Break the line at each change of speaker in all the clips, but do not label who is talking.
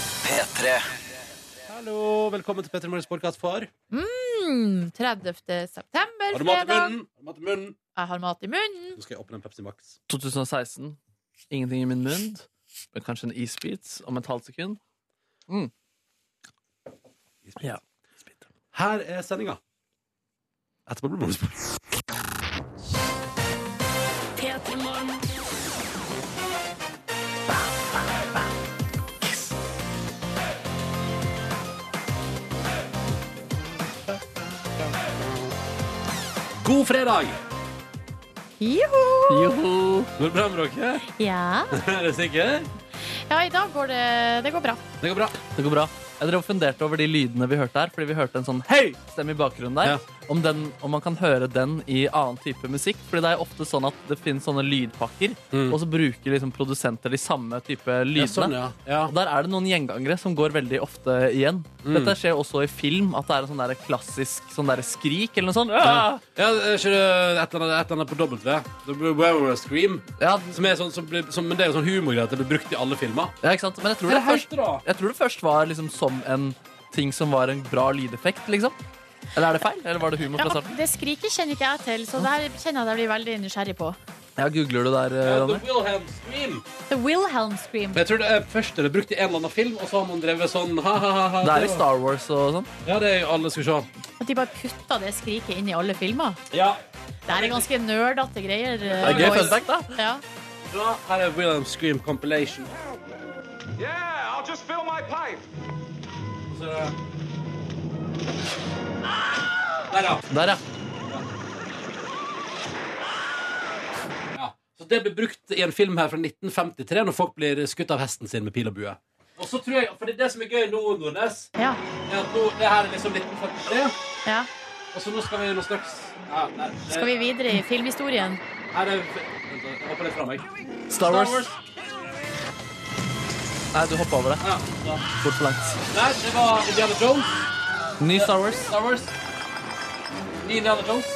P3.
Hallo, velkommen til Petter Morgens podcast for Har
Mm, 30. september,
du mat i
fredag.
munnen? Har du mat i munnen?
Jeg har mat i munnen.
Nå skal jeg åpne en Pepsi Max.
2016. Ingenting i min munn, men kanskje en isbit om et halvt sekund. Mm. Ja.
Her er sendinga. Etterpå blir det bonusbord. God fredag!
Joho!
Joho!
Går det bra med dere?
Ja.
Er dere sikre?
ja, i dag går det Det går bra.
Det går bra.
Det går bra. Jeg drev og funderte over de lydene vi hørte her, fordi vi hørte en sånn hei stemme i bakgrunnen der.
Ja.
Om, den, om man kan høre den i annen type musikk. Fordi det er ofte sånn at det finnes sånne lydpakker,
Mm.
og så bruker liksom produsenter de samme type lydene.
Ja, sånn, ja. ja.
Og der er det noen gjengangere som går veldig ofte igjen.
Mm.
Dette skjer også i film, at det er en sånn der klassisk sånn der skrik eller noe sånt.
Ja,
Ja.
er ikke det et eller annet, et eller annet på W? Det blir Wawa Scream.
Ja,
Som er sånn, som blir, som, men det er jo sånn humorgreie at det blir brukt i alle filmer.
ja, ikke sant? Men jeg tror det, først, jeg tror det først var liksom som en ting som var en bra lydeffekt, liksom. Eller er det feil? Eller var det humor
Ja,
fra starten?
det skriket kjenner ikke jeg til, så det her kjenner jeg at jeg blir veldig nysgjerrig på.
Ja, googler du der, eh,
Ja, eh,
Ronny?
The Wilhelm Scream.
The Wilhelm Scream.
Men jeg tror det er først er det brukt i en eller annen film, og så har man drevet sånn ha-ha-ha.
Det er i Star Wars og sånn.
Ja, det er jo alle skal se.
At de bare putta det skriket inn i alle filmer.
Ja.
Det her er ganske nerdete greier. eh.
Det er gøy
boys.
fun fact, da.
Ja.
Bra. Her er Wilhelm Scream compilation.
Yeah, I'll just fill my pipe.
Så er det- Der, ja.
Der, ja.
ja. Så det blir brukt i en film her fra 1953, når folk blir skutt av hesten sin med pil og bue. Og så tror jeg, for det er det som er gøy nå, Nordnes,
Ja.
er at nå, det her er liksom 1943.
ja.
Og så nå skal vi noe straks ja, nei, det-
Skal vi videre i filmhistorien?
Her er Vent, da, jeg hopper litt fra meg.
Star Wars. Nei, du hoppa over det.
Ja, da.
Bort for langt.
Nei, det var Indiana Jones.
Ny Star Wars.
Star Wars. Ny Indiana Jones.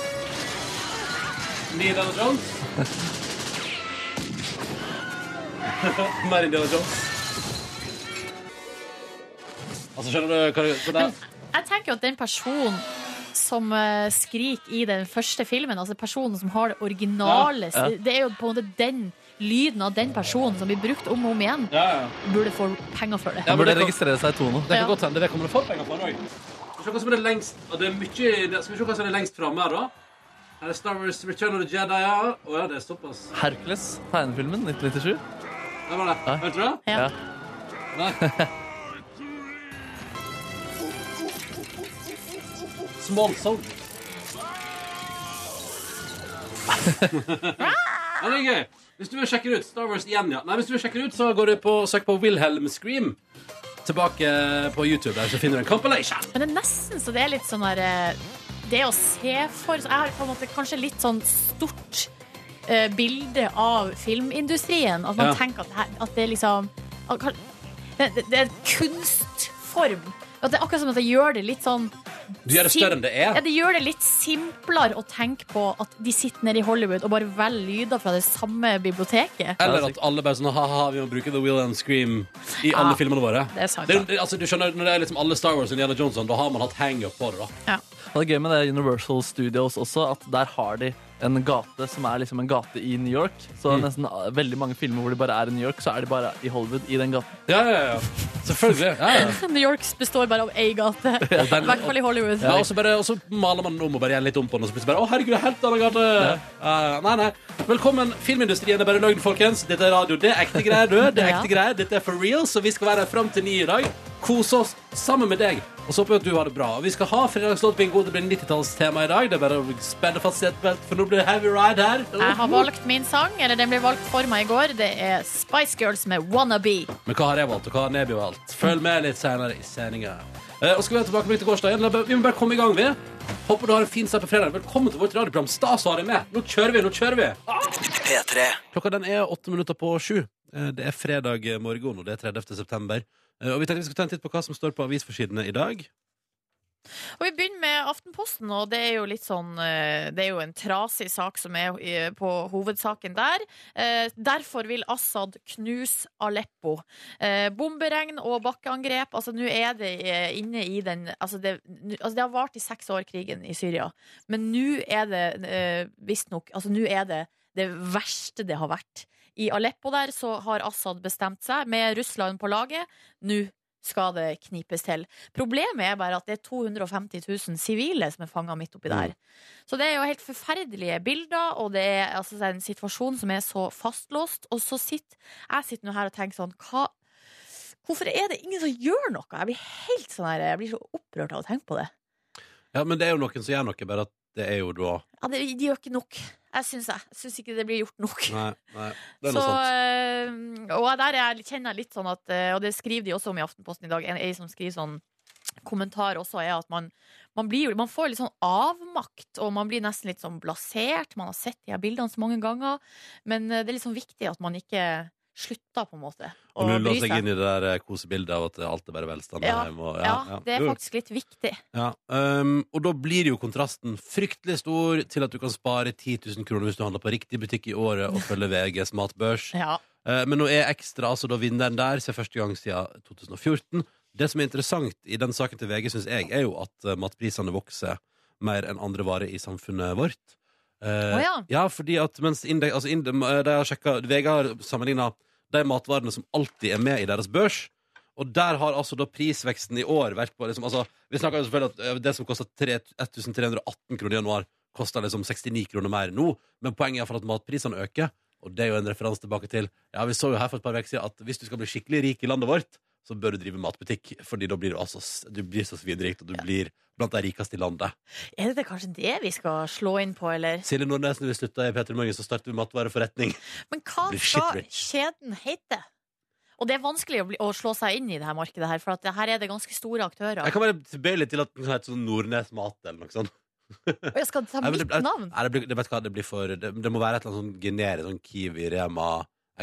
Ny Indiana Jones. Mer Indiana Jones. Altså, skjønner du hva det- hva det er?
Jeg tenker jo at den personen som eh, skriker i den første filmen, altså personen som har det originale
Ja, ja.
Det er jo på en måte den lyden av den personen som blir brukt om og om igjen,
Ja, ja.
burde få penger for det.
Ja,
Han
men
burde
det kan-
registrere seg i Tono.
Det kan
Ja.
godt hende det kommer det få penger for òg. Skal vi se hva som er det lengst og det er mye, det, Skal vi se hva som er det lengst framme her, da? Her er Star Wars Return of the Jedi, ja. Å ja, det er såpass.
Hercules, tegnefilmen
Der
1997.
var det.
Ja.
Hørte du det?
Ja.
Ja.
Nei. Small Soldier. ja, det er gøy. Hvis du vil sjekke det ut Star Wars igjen, ja. Nei, hvis du vil sjekke det ut, så går du på, søk på Wilhelm Scream. Tilbake eh, på YouTube der, så finner du en compilation.
Men det er nesten så det er litt sånn der eh, Det å se for så Jeg har på en måte kanskje litt sånn stort eh, bilde av filmindustrien. At man
Ja.
tenker at det, her, at det liksom at kan- det, det, det er en kunstform. At det er akkurat som at det gjør det litt sånn
Du gjør det større enn det
Ja,
er.
det gjør det litt simplere å tenke på at de sitter nede i Hollywood og bare velger lyder fra det samme biblioteket.
Eller at alle bare sånn ha-ha, vi må bruke The Will and Scream i alle
Ja,
filmene våre.
det er sant,
Det, det, altså, du skjønner, Når det er liksom alle Star Wars og Indiana Johnson, da har man hatt hang-up på det. da
Ja.
Og det er gøy med det Universal Studios også, at der har de en gate som er liksom en gate i New York. Så nesten ah, veldig mange filmer hvor de bare er i New York, så er de bare i Hollywood i den gaten.
Ja, ja, ja. Selvfølgelig. Ja, ja.
New York består bare av ei gate. I
den-
hvert fall i Hollywood.
Ja, og, så bare, og så maler man den om og bare gjør litt om på den, og så plutselig bare Å, herregud, det er helt annen gate! Ja, ja. nei, nei. Velkommen. Filmindustrien er bare løgn, folkens. Dette er radio. Det er ekte greier, du. Det er
Ja.
ekte greier. Dette er for real, så vi skal være her fram til ni i dag. Kose oss sammen med deg. Og så håper jeg at du har det bra. Og Vi skal ha fredagslåtbingo. Det blir 90-tallstema i dag. Det er bare å spenne fast setebelt, for nå blir det heavy ride her.
Jeg har valgt min sang, eller den ble valgt for meg i går. Det er Spice Girls med Wannabe.
Men hva har jeg valgt, og hva har Neby valgt? Følg med litt senere i sendinga. Eh, og skal Vi ha tilbakeblikk til gårsdagen La- Vi må bare komme i gang. vi Håper du har en fin start på fredag. Velkommen til vårt radioprogram. Stas å ha deg med. Nå kjører vi! nå kjører vi
P3.
Klokka den er åtte minutter på sju. Eh, Det er fredag morgen, og det er 30. september. Eh, Og vi tenkte vi skulle ta en titt på hva som står på avisforsidene i dag.
Og vi begynner med Aftenposten, og det er jo litt sånn eh, Det er jo en trasig sak som er i- på hovedsaken der. Eh, Derfor vil Assad knuse Aleppo. Eh, Bomberegn og bakkeangrep. Altså, nå er det eh, inne i den Altså, det, nu- altså, det har vart i seks år, krigen i Syria. Men nå er det eh, visstnok Altså, nå er det det verste det har vært. I Aleppo der så har Assad bestemt seg, med Russland på laget. Nå skal det knipes til. Problemet er bare at det er 250 000 sivile som er fanga midt oppi der. Så det er jo helt forferdelige bilder, og det er altså en situasjon som er så fastlåst. Og så sitter jeg sitter nå her og tenker sånn hva, Hvorfor er det ingen som gjør noe? Jeg blir helt sånn her, jeg blir så opprørt av å tenke på det.
Ja, men det er jo noen som gjør noe, bare at det er jo da
Ja, det, De gjør ikke nok. Jeg syns jeg. Jeg syns ikke det blir gjort nok.
Nei, nei, det er
så,
noe sant.
eh, Og der er, jeg- kjenner jeg litt sånn at eh, Og det skriver de også om i Aftenposten i dag En, en som skriver sånn kommentar også er at man, man, blir, jo- man får litt sånn avmakt Og man blir nesten litt sånn blasert Man har sett de her bildene så mange ganger Men eh, det er litt sånn viktig at man ikke slutter på en måte å
Og nå
bry
låser jeg inn i det der eh, kosebildet av at alt er bare velstand
Ja,
her hjemme. og-
ja, det er
Jo,
faktisk litt viktig
ja. Um, og da blir jo kontrasten fryktelig stor til at du kan spare 10 000 kroner hvis du handler på riktig butikk i året og følger VGs matbørs.
Ja,
Eh, Men nå er ekstra, altså da vinneren der, ser første gang siden 2014. Det som er interessant i den saken til VG, synes jeg, er jo at eh, matprisene vokser mer enn andre varer i samfunnet vårt. Eh,
Å ja.
fordi at mens inde, altså inde, eh, de har sjekket, VG har sammenlignet de matvarene som alltid er med i deres børs, og der har altså da prisveksten i år vært på liksom, altså, Vi snakker jo selvfølgelig at eh, det som kostet tre- 1318 kroner i januar, koster liksom 69 kroner mer nå, men poenget er i hvert fall at matprisene øker. Og det er jo en referanse tilbake til Ja, vi så jo her for et par uker siden at hvis du skal bli skikkelig rik i landet vårt, så bør du drive matbutikk, fordi da blir du altså s- Du blir så svinrik, og du blir blant de rikeste i landet.
er det kanskje det vi skal slå inn på, eller?
Silje Nordnes, når vi slutter i P3 Morgen, så starter vi matvareforretning.
Men hva
Blir shit
skal
rich.
kjeden hete? Og det er vanskelig å, bli, å slå seg inn i det her markedet, her, for at det her er det ganske store aktører.
Jeg kan være tilbøyelig til at den kan hete sånn Nordnes Mat eller noe sånt.
Og jeg skal ta
Nei, men det-
mitt navn?
Nei, det, blir, det, vet du hva, det blir for det, det må være et eller annet sånn generisk sånn Kiwi, Rema,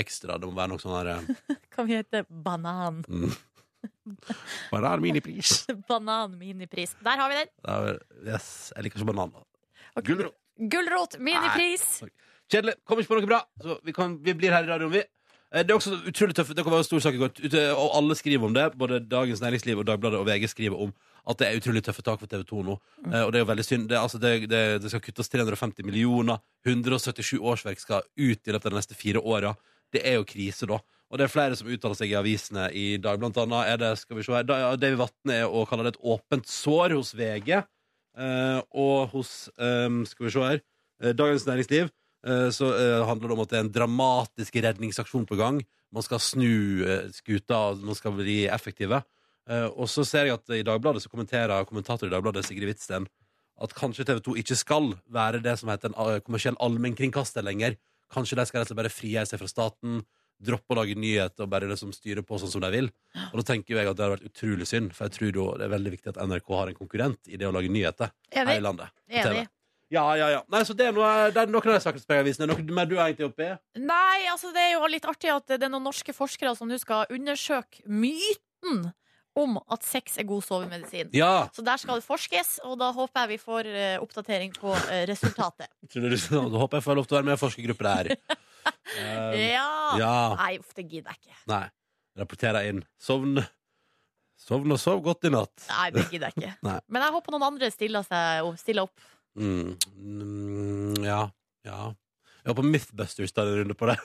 Ekstra. Det må være noe sånn her eh,
Kan vi hete Banan?
mm. Bare en minipris.
Banan minipris. Der har vi den!
Det er vel- Yes, jeg liker ikke bananer.
Ok.
Gulrot.
Gulrot minipris!
Kjedelig. Kommer ikke på noe bra. Så vi, kan, vi blir her i radioen, vi. Eh, Det er også utrolig tøft. Det kan være en stor sak i går. Ut- Og alle skriver om det. Både Dagens Næringsliv og Dagbladet og VG skriver om at det er utrolig tøffe tak for TV 2 nå. Eh, Og det er jo veldig synd. Det, er altså, det, det, det skal kuttes 350 millioner. 177 årsverk skal ut i løpet av de neste fire åra. Det er jo krise, da. Og det er flere som uttaler seg i avisene i dag. Blant annet er det, skal vi se her, da- ja, Davy Vatne er å kalle det et åpent sår hos VG. Eh, og hos, eh, skal vi se her, eh, Dagens Næringsliv eh, så eh, handler det om at det er en dramatisk redningsaksjon på gang. Man skal snu eh, skuta, og man skal bli effektive. Eh, og så ser jeg at i Dagbladet så kommenterer kommentator i Dagbladet Sigrid Hvitsten at kanskje TV 2 ikke skal være det som heter en eh, kommersiell allmennkringkaster lenger. Kanskje de skal rett og slett bare frigjøre seg fra staten, droppe å lage nyheter og bare liksom styre på sånn som de vil. Og da tenker jo jeg at det hadde vært utrolig synd, for jeg tror jo det er veldig viktig at NRK har en konkurrent i det å lage nyheter her i
Enig.
landet. på TV.
Enig.
Ja, ja, ja. Nei, så det er, noe, det er noen av de sakene som preger avisen. Det er noe mer du er egentlig oppe i.
Nei, altså det er jo litt artig at det er noen norske forskere som nå skal undersøke myten om at sex er god sovemedisin.
Ja.
Så der skal det forskes, og da håper jeg vi får eh, oppdatering på eh, resultatet.
Tror du, da håper jeg får lov til å være med i en forskergruppe der. Eh,
Ja!
ja.
Nei, uff, det gidder jeg ikke.
Nei. Rapporterer inn. Sovn. Sovn og sov godt i natt.
Nei, det gidder jeg ikke.
Nei.
Men jeg håper noen andre stiller, seg, opp- stiller opp.
Mm. Mm, ja. Ja. Jeg håper Mythbusters tar en runde på det.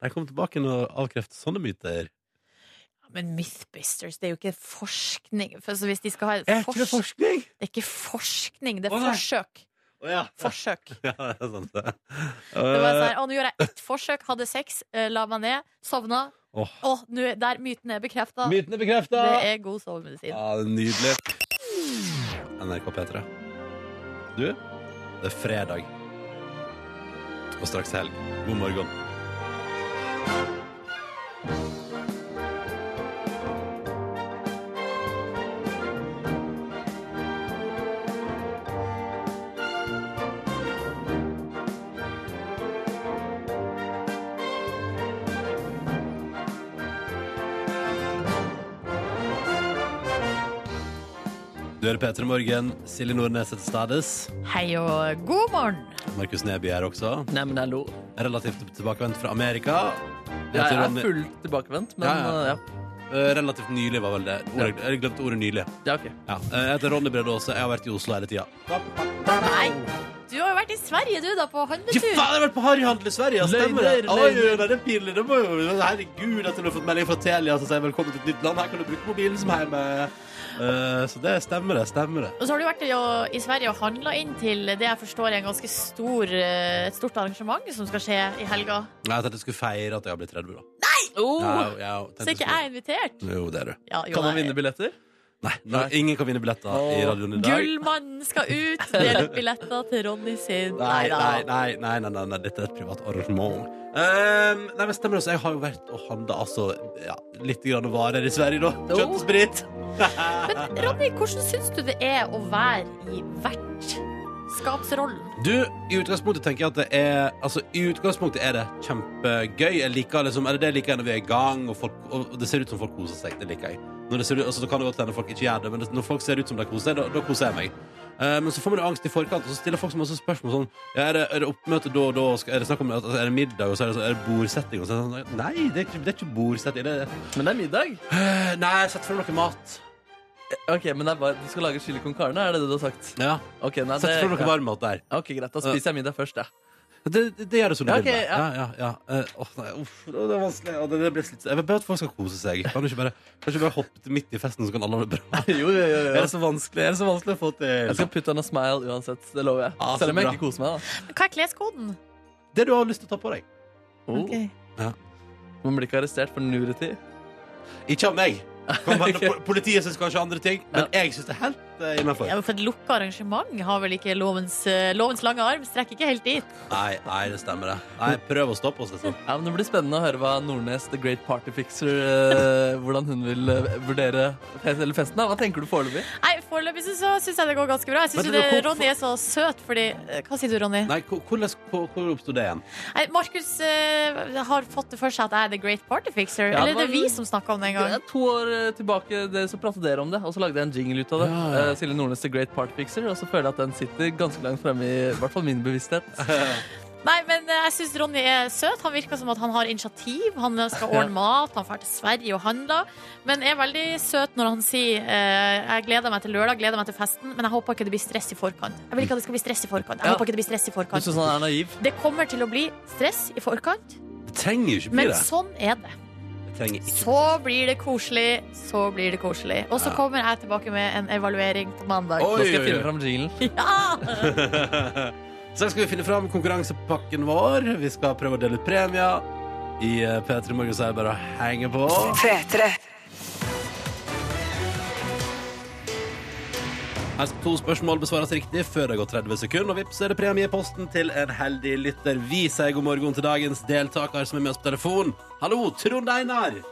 De kommer tilbake og avkrefter sånne myter.
Men Mythbusters, det er jo ikke forskning. For, altså, hvis de skal ha
Er ikke
fors-
det forskning?
det er ikke forskning, det er
Å, nei.
forsøk.
Å ja.
Forsøk.
ja, det er sant, det.
Det var sånn,
Eh,
her, å, nå gjorde jeg ett forsøk, hadde sex, eh, la meg ned, sovna.
Åh,
Å, nå er- der myten er bekrefta.
myten er bekrefta!
Det er god sovemedisin.
Ja, det er nydelig. NRK P3. Du, det er fredag. Og straks helg. God morgen. Du hører P3 Morgen. Silje Nordnes er til stades.
Hei og god morgen!
Markus Neby er også.
Nei, men hallo.
Relativt tilbakevendt fra Amerika.
Jeg
Heter
er
Ronny-
fullt tilbakevendt, men
Ja,
ja.
Eh, Relativt nylig var vel det. Ordet, jeg glemte ordet nylig.
ja, ok.
Ja. Eh, Jeg heter Ronny Brede Aase. Jeg har vært i Oslo hele tida.
Nei, du har jo vært i Sverige, du, da, på
Fy faen, jeg
handletur.
har vært på harryhandel i Sverige! ja, Stemmer det?
Løgner,
Oi,
løgner.
nei, det er pinlig. Det må jo, herregud, at hun har fått melding fra Telia som sier velkommen til et nytt land. Her kan du bruke mobilen som hjemme. Eh, så det stemmer, det. Stemmer det.
Og så har du vært i, å- i Sverige og handla inn til det jeg forstår er en ganske stor, eh, et stort arrangement som skal skje i helga.
Nei, Jeg tenkte jeg skulle feire at jeg har blitt 30, da.
Oh,
Ja, ja, tenkte
så er ikke jeg er invitert?
skulle- Jo, det er du.
Ja, jo,
Kan man
jeg-
vinne billetter?
Nei, nå, ingen kan vinne billetter i radioen i dag.
Gullmannen skal ut, dele ut billetter til Ronny sin.
Nei,
Neida.
nei, nei, nei, nei, nei, nei, dette er et privat arrangement. Ehm, nei, men stemmer det, så jeg har jo vært og handla altså, ja, litt grann varer i Sverige, da. Kjøtt og sprit.
Men Ronny, hvordan syns du det er å være i vertskapsrollen?
Du, i utgangspunktet tenker jeg at det er Altså, i utgangspunktet er det kjempegøy. Jeg liker liksom, eller det liker jeg når vi er i gang, og, folk, og det ser ut som folk koser seg. Det liker jeg. Når det ser ut, altså, det kan det godt hende folk ikke gjør det, men det, når folk ser ut som de koser seg, da, da koser jeg meg. Eh, men så får man jo angst i forkant, og så stiller folk så masse spørsmål sånn ja, er, det, er det oppmøte da og da? og skal- Er det snakk om altså, Er det middag? Og så er det, sånn, er det bordsetting? Og så er det sånn, nei, det er ikke, det er ikke bordsetting. Det er,
Men det er middag.
Eh, nei, sett frem noe mat.
Ok, men det er bare, Du skal lage chili con carne, er det det du har sagt?
Ja,
Ok, nei, det,
Sett frem noe
ja.
varm mat der.
ok greit, da spiser jeg middag først, jeg.
Det, det, det gjør det sånn
Ja,
ja,
ok, ja.
ja, ja, ja. Eh, åh, nei, uff, å, det er vanskelig å, det, det blir slitt. Jeg vil bare at folk skal kose seg Kan du ikke bare, kan du ikke bare hoppe midt i festen Så kan alle ha det bra
Jo, jo, jo,
Er det så vanskelig, er det så vanskelig å få til
Jeg skal putte on a smile uansett. Det lover jeg.
Ah, så
Selv om jeg
bra.
ikke koser meg. da
Hva er kleskoden?
Det du har lyst til å ta på deg
oh,
Ja.
Man blir ikke arrestert for nudity.
Ikke av meg Kan være
Ok.
po- Politiet synes kanskje andre ting Men jeg synes det er helt eh, innenfor
Ja, men for Et lukka arrangement har vel ikke lovens, eh, lovens lange arm? Strekker ikke helt dit.
Nei, nei, det stemmer det Nei, prøv å stoppe oss liksom
Ja, men Det blir spennende å høre hva Nordnes, the great party fixer, eh, hvordan hun vil eh, vurdere fe- eller festen. da Hva tenker du foreløpig?
Nei, Foreløpig så- så syns jeg det går ganske bra. Jeg
Men
synes jo
du,
det-
hvorfor-
Ronny er så søt fordi eh, Hva sier du, Ronny?
Nei, hvor, hvordan- hvor, hvor oppstod det igjen?
Nei, Markus eh, har fått det for seg at jeg er the great party fixer.
Ja,
Eller det
det var-
er vi som snakka om det en
Det
gang.
er to år eh, tilbake det, så pratet dere om det, og så lagde jeg en jingle ut av det.
Ja, ja.
Eh, Silje Nordnes, the great party fixer, og så føler jeg at den sitter ganske langt fremme i, i hvert fall min bevissthet.
Nei, men eh, jeg syns Ronny er søt. Han virker som at han har initiativ. Han skal
Ja.
ordne mat, han drar til Sverige og handler. Men er veldig søt når han sier eh, jeg gleder meg til lørdag, gleder meg til festen, men jeg håper ikke det blir stress i forkant. Jeg vil ikke at det skal bli stress i forkant. Jeg
Ja.
håper ikke det blir stress i
Du sånn-
forkant.
syns han er naiv?
Det kommer til å bli stress i forkant,
Det trenger jo ikke bli
men
det
sånn er det.
Det trenger ikke
Så blir det koselig, så blir det koselig. Og så
Ja.
kommer jeg tilbake med en evaluering på mandag.
Oi, oi,
Nå skal jeg
oi.
finne fram jinglen.
Ja!
Så skal vi finne fram konkurransepakken vår. Vi skal prøve å dele ut premier. I eh, P3 Morgen så er det bare å henge på.
P3.
Her skal to spørsmål besvares riktig før det har gått 30 sekunder. Og vips er det premie i posten til en heldig lytter. Vi sier god morgen til dagens deltaker som er med oss på telefon. Hallo, Trond Einar.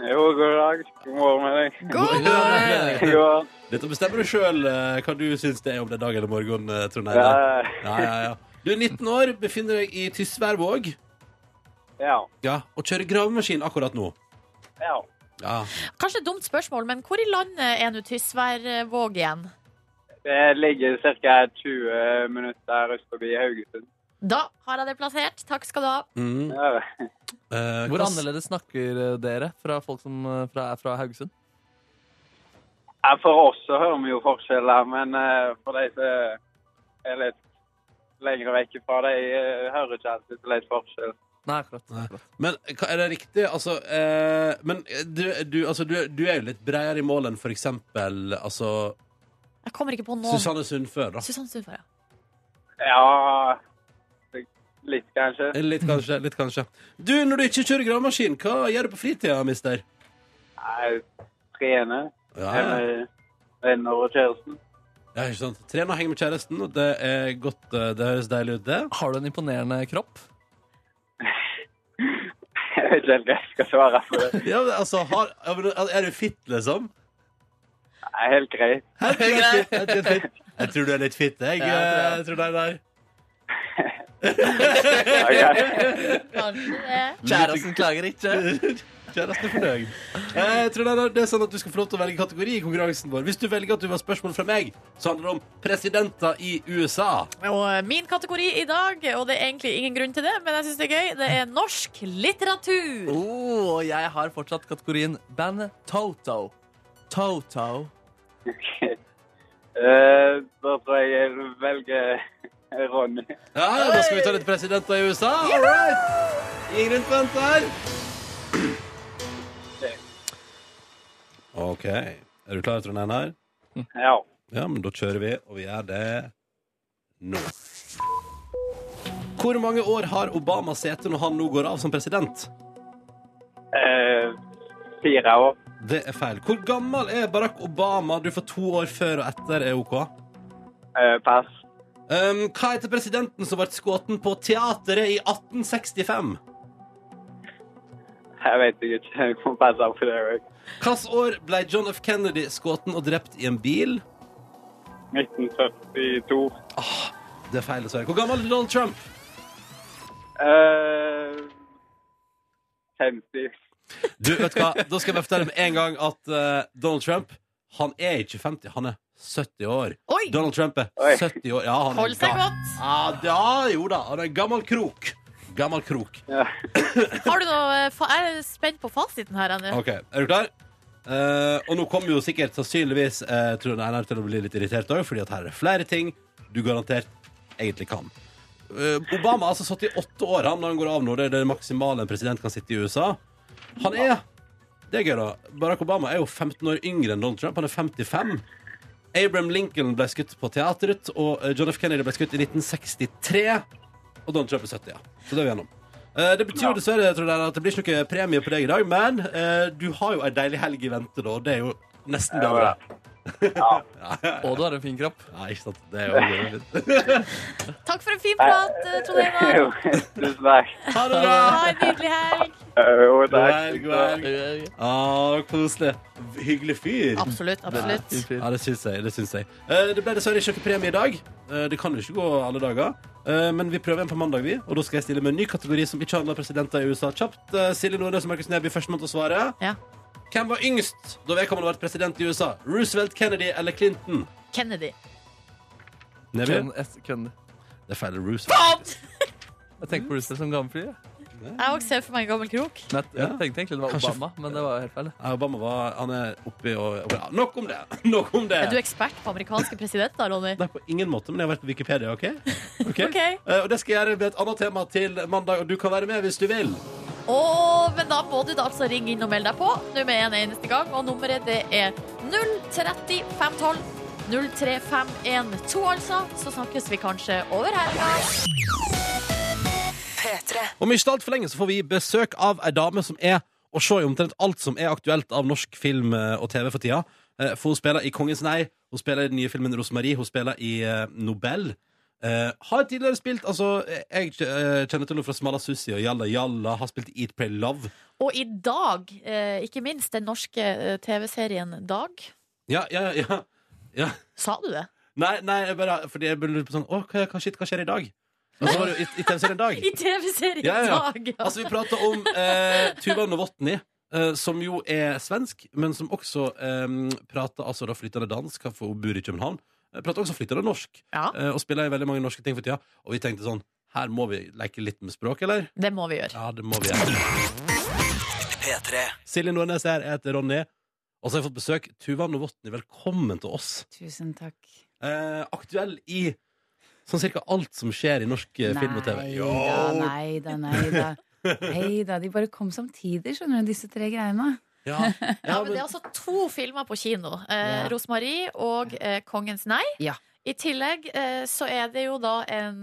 Jo, god dag. God morgen med deg.
God
Morgen.
God morgen.
Dette bestemmer du sjøl hva du syns det er om det er dag eller morgen, eh, Trond
Ja,
Einar. Ja, ja, ja. Du er 19 år, befinner deg i Tysværvåg
ja.
ja, og kjører gravemaskin akkurat nå.
ja.
Ja.
Kanskje et dumt spørsmål, men hvor i landet er nå Tysværvåg igjen?
Det ligger ca. 20 minutter øst forbi Haugesund.
Da har jeg det plassert. Takk skal du ha.
Mm.
Ja.
Eh,
Hvor
hva-
annerledes snakker eh, dere fra folk som eh, fra, er fra Haugesund?
Ja, For oss så hører vi jo forskjeller, men eh, for de som er litt lenger vekk fra de eh, hører ikke alltid så litt forskjell.
Nei, akkurat.
Nei.
akkurat.
Men hva- er det riktig? Altså, eh, men du, du, altså, du, du er jo litt bredere i mål enn for eksempel altså,
Jeg kommer ikke på noen.
Susanne Sundfør, da.
Susanne Sundfør, ja.
Ja Litt, kanskje.
Eh, Litt kanskje, litt kanskje. Du, når du ikke kjører gravemaskin, hva gjør du på fritida, mister?
Jeg trener.
Ja,
Jeg er
ja.
med venner og kjæresten.
ja ikke sant. Trene og henge med kjæresten, og det er godt. eh, Det høres deilig ut, det.
Har du en imponerende kropp?
Jeg vet ikke helt hva jeg skal svare på det.
Ja, men altså, har, ja, men, er du fit, liksom?
Det er helt greit.
Helt greit. Helt greit, fit. Jeg tror du er litt fit, jeg.
Ja,
jeg tror det er der.
Ja, ja.
Kanskje det.
Kjæresten klager ikke.
Kjæresten er fornøyd. Eh, Trond Einar, det er sånn at du skal få lov til å velge kategori i konkurransen vår. Hvis du velger at du vil ha spørsmål fra meg, så handler det om presidenter i USA.
Og eh, min kategori i dag, og det er egentlig ingen grunn til det, men jeg syns det er gøy, det er norsk litteratur.
Oh, jeg har fortsatt kategorien bandet Toto. Toto.
Eh, da tror jeg jeg velger Ronny.
Ja, ja, da skal vi ta litt presidenter i USA. All right. Ingen rundt vent her. OK. Er du klar, Trond Einar?
Ja.
Ja, men da kjører vi, og vi gjør det nå. Hvor mange år har Obama sete når han nå går av som president?
Eh, fire år.
Det er feil. Hvor gammel er Barack Obama? Du får to år før og etter er OK.
Eh, pass.
Um, hva heter presidenten som ble skutt på teateret i 1865?
Jeg vet ikke. Jeg må passe på det òg.
Hvilket år ble John F. Kennedy skutt og drept i en bil?
1972.
Det er feil, dessverre. Hvor gammel er Donald Trump?
Eh, 50.
Du, vet du hva? Da skal jeg bare fortelle med en gang at eh, Donald Trump han er ikke 50, han er 70 år.
Oi!
Donald Trump er
Oi.
70 år. Ja, han er
Hold seg
ga-
godt.
Ja, da, jo da. Han er en gammel krok. Gammel krok.
Ja.
Har du noe eh, fa Jeg er spent på fasiten her, Anja.
OK, er du klar? Eh, og nå kommer jo sikkert sannsynligvis eh, Trond Einar til å bli litt irritert òg, fordi at her er det flere ting du garantert egentlig kan. Eh, Obama har altså sittet i åtte år han, når han går av nå. Det er det maksimale en president kan sitte i USA. Han er Det er gøy, da. Barack Obama er jo 15 år yngre enn Donald Trump. Han er 55. Abraham Lincoln ble skutt på teatret, og eh, John F. Kennedy ble skutt i 1963. Og Donald Trump er 70, ja. Så det er vi gjennom. Eh, Det betyr jo dessverre Trond Einar, at det blir ikke noe premie på deg i dag, men eh, du har jo ei deilig helg i vente, da. og Det er jo nesten det.
Ja.
Ja,
Og du har en fin kropp.
ikke sant? Det er jo fint.
Takk for en fin prat, eh, Trond Einar.
Tusen takk.
Ha det bra!
Ha en nydelig helg.
Eh, Jo,
God
takk.
helg, god helg. Ah, koselig. Hyggelig fyr.
Absolutt. absolutt
Fin fyr.
Ja, det syns jeg. Det syns jeg. Eh, det ble dessverre ikke noen premie i dag. Eh, det kan jo ikke gå alle dager. Eh, men vi prøver en på mandag, vi. Og da skal jeg stille med en ny kategori som ikke handler om presidenter i USA. Kjapt. Eh, Silje Nordnes og Markus Neby førstemann til å svare.
Ja.
Hvem var yngst da vedkommende ble president i USA? Roosevelt, Kennedy eller Clinton?
Kennedy.
Neby?
Ken S. Kennedy.
Det er feil. Roosevelt.
Jeg tenker på Roosevelt som gammel fly. jeg.
Jeg òg ser for meg en gammel krok.
Men jeg- jeg
Ja.
tenkte egentlig det var
Kanskje-
Obama, men det var jo helt feil.
Ja, Obama var Han er oppi og og- ja, Nok om det! Nok om
Er du
det!
ekspert på amerikanske presidenter, Ronny?
Nei, på ingen måte, men jeg har vært på Wikipedia, OK? Ok.
Ok.
Eh, og det skal jeg gjøre med et annet tema til mandag, og du kan være med hvis du vil.
Åh, men da må du da altså ringe inn og melde deg på Nå med en eneste gang Og nummeret det er 03512 03512 altså Så snakkes vi kanskje over helga
Om ikke altfor lenge så får vi besøk av ei dame som er å se i omtrent alt som er aktuelt av norsk film eh, og TV for tida. Eh, For hun spiller i Kongens nei, hun spiller i den nye filmen Rosemarie, hun spiller i eh, Nobel. Eh, har tidligere spilt Altså, eh, jeg eh, kjenner til henne fra Smala Sussi og Jalla Jalla. Har spilt i Eat Pray Love.
Og i dag, eh, ikke minst den norske eh, tv-serien Dag
Ja, ja, ja. ja.
Sa du det?
Nei, nei, jeg bare, fordi jeg bare lurte på sånn Å, hva, hva, shit, hva skjer i dag? Og så var det jo i, i TV-serien Dag.
I tv-serien
Ja, ja.
Dag ja.
Altså, vi prater om eh, Tuva Novotny, eh, som jo er svensk, men som også eh, prater altså, da flytende dansk, for hun bor i København. Eh, Prater også flytende norsk,
Ja.
eh, og spiller i veldig mange norske ting for tida. Og vi tenkte sånn her må vi leke litt med språk, eller?
Det må vi gjøre
Ja, det må vi gjøre. Silje Nordnes her, jeg heter Ronny. Og så har jeg fått besøk. Tuva Novotny, velkommen til oss.
Tusen takk.
Eh, aktuell i sånn cirka alt som skjer i norsk eh, film og TV.
Nei
Jo.
da, nei da, nei da. Nei da, de bare kom samtidig, skjønner du, disse tre greiene.
Ja,
ja,
ja,
men det er
men,
altså to filmer på kino. Eh,
Ja.
Rosmarie og eh, Kongens nei.
Ja.
I tillegg eh, så er det jo da en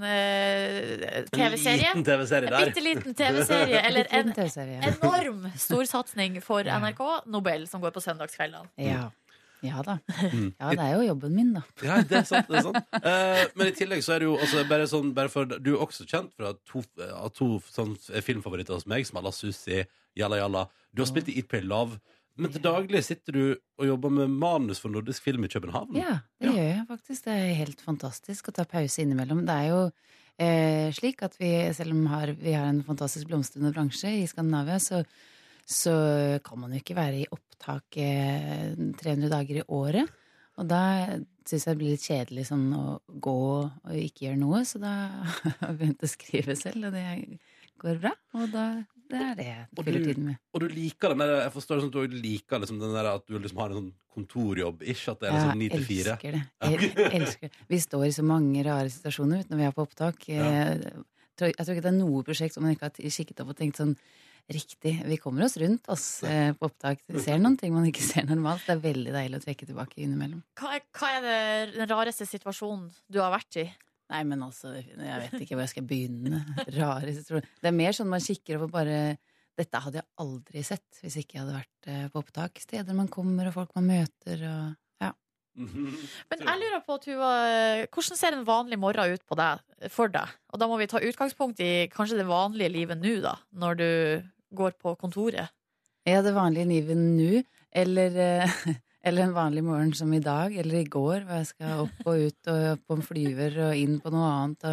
eh,
en
TV-serie.
liten TV-serie
En
der.
bitte liten TV-serie, eller
Litt
en
rundt det, ser jeg.
enorm storsatsing for NRK, Nobel, som går på søndagskveldene.
Ja. ja da.
Mm.
Ja, det er jo jobben min, da.
Ja, det er sant. det er sant Eh, Men i tillegg så er det jo altså, bare sånn, bare for, Du er også kjent fra to, av to sånn, filmfavoritter hos meg, som Alla Susi, Jalla Jalla. Du har spilt i Eat Pray Love. Men til daglig sitter du og jobber med manus for nordisk film i København.
Ja, det
Ja.
gjør jeg faktisk. Det er helt fantastisk å ta pause innimellom. Det er jo eh, slik at vi, selv om har, vi har en fantastisk blomstrende bransje i Skandinavia, så så kan man jo ikke være i opptak eh, 300 dager i året. Og da syns jeg det blir litt kjedelig sånn å gå og ikke gjøre noe, så da har jeg begynt å skrive selv, og det går bra. Og da det er det jeg
Og
fyller
du-
tiden med.
Og du liker den der, jeg forstår det sånn at du liker liksom den der at du liksom har en sånn kontorjobb-ish, at det er
Ja,
liksom 9 til 4.
elsker det. Jeg elsker det. Vi står i så mange rare situasjoner vet du, når vi er på opptak. Eh, tror- Jeg tror ikke det er noe prosjekt som man ikke har t- kikket opp og tenkt sånn Riktig. Vi kommer oss rundt oss eh, på opptak. Vi ser noen ting man ikke ser normalt. Det er veldig deilig å trekke tilbake innimellom.
Hva er, hva er det, den rareste situasjonen du har vært i?
Nei, men altså, jeg vet ikke hvor jeg skal begynne. Rare situasjoner. Det er mer sånn man kikker opp og bare Dette hadde jeg aldri sett hvis ikke jeg hadde vært eh, på opptak. Steder man kommer, og folk man møter, og
Men jeg lurer på, Tuva, hvordan ser en vanlig morgen ut på deg, for deg? Og da må vi ta utgangspunkt i kanskje det vanlige livet nå, da, når du går på kontoret.
Ja, det vanlige livet nå, eller eh, eller en vanlig morgen som i dag, eller i går, hvor jeg skal opp og ut og på en flyver og inn på noe annet.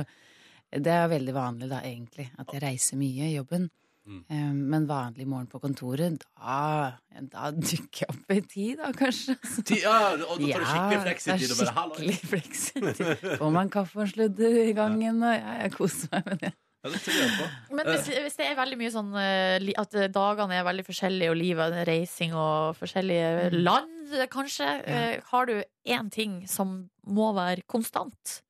Og det er veldig vanlig, da, egentlig, at jeg reiser mye i jobben.
Mm.
Eh, Men vanlig morgen på kontoret, da, da dukker jeg opp i tid, da, kanskje. Så-
Ti- Ja, og da tar du skikkelig
det
flexitid
er
og bare hallo.
skikkelig fleksitid. Får man kaffe og en sludder i gangen, og ja, jeg koser meg med det.
Ja, det tror jeg på.
Men hvis, hvis det er veldig mye sånn eh, li- at eh, dagene er veldig forskjellige, og livet er reising og forskjellige land, eh, kanskje, eh, har du én ting som må være konstant?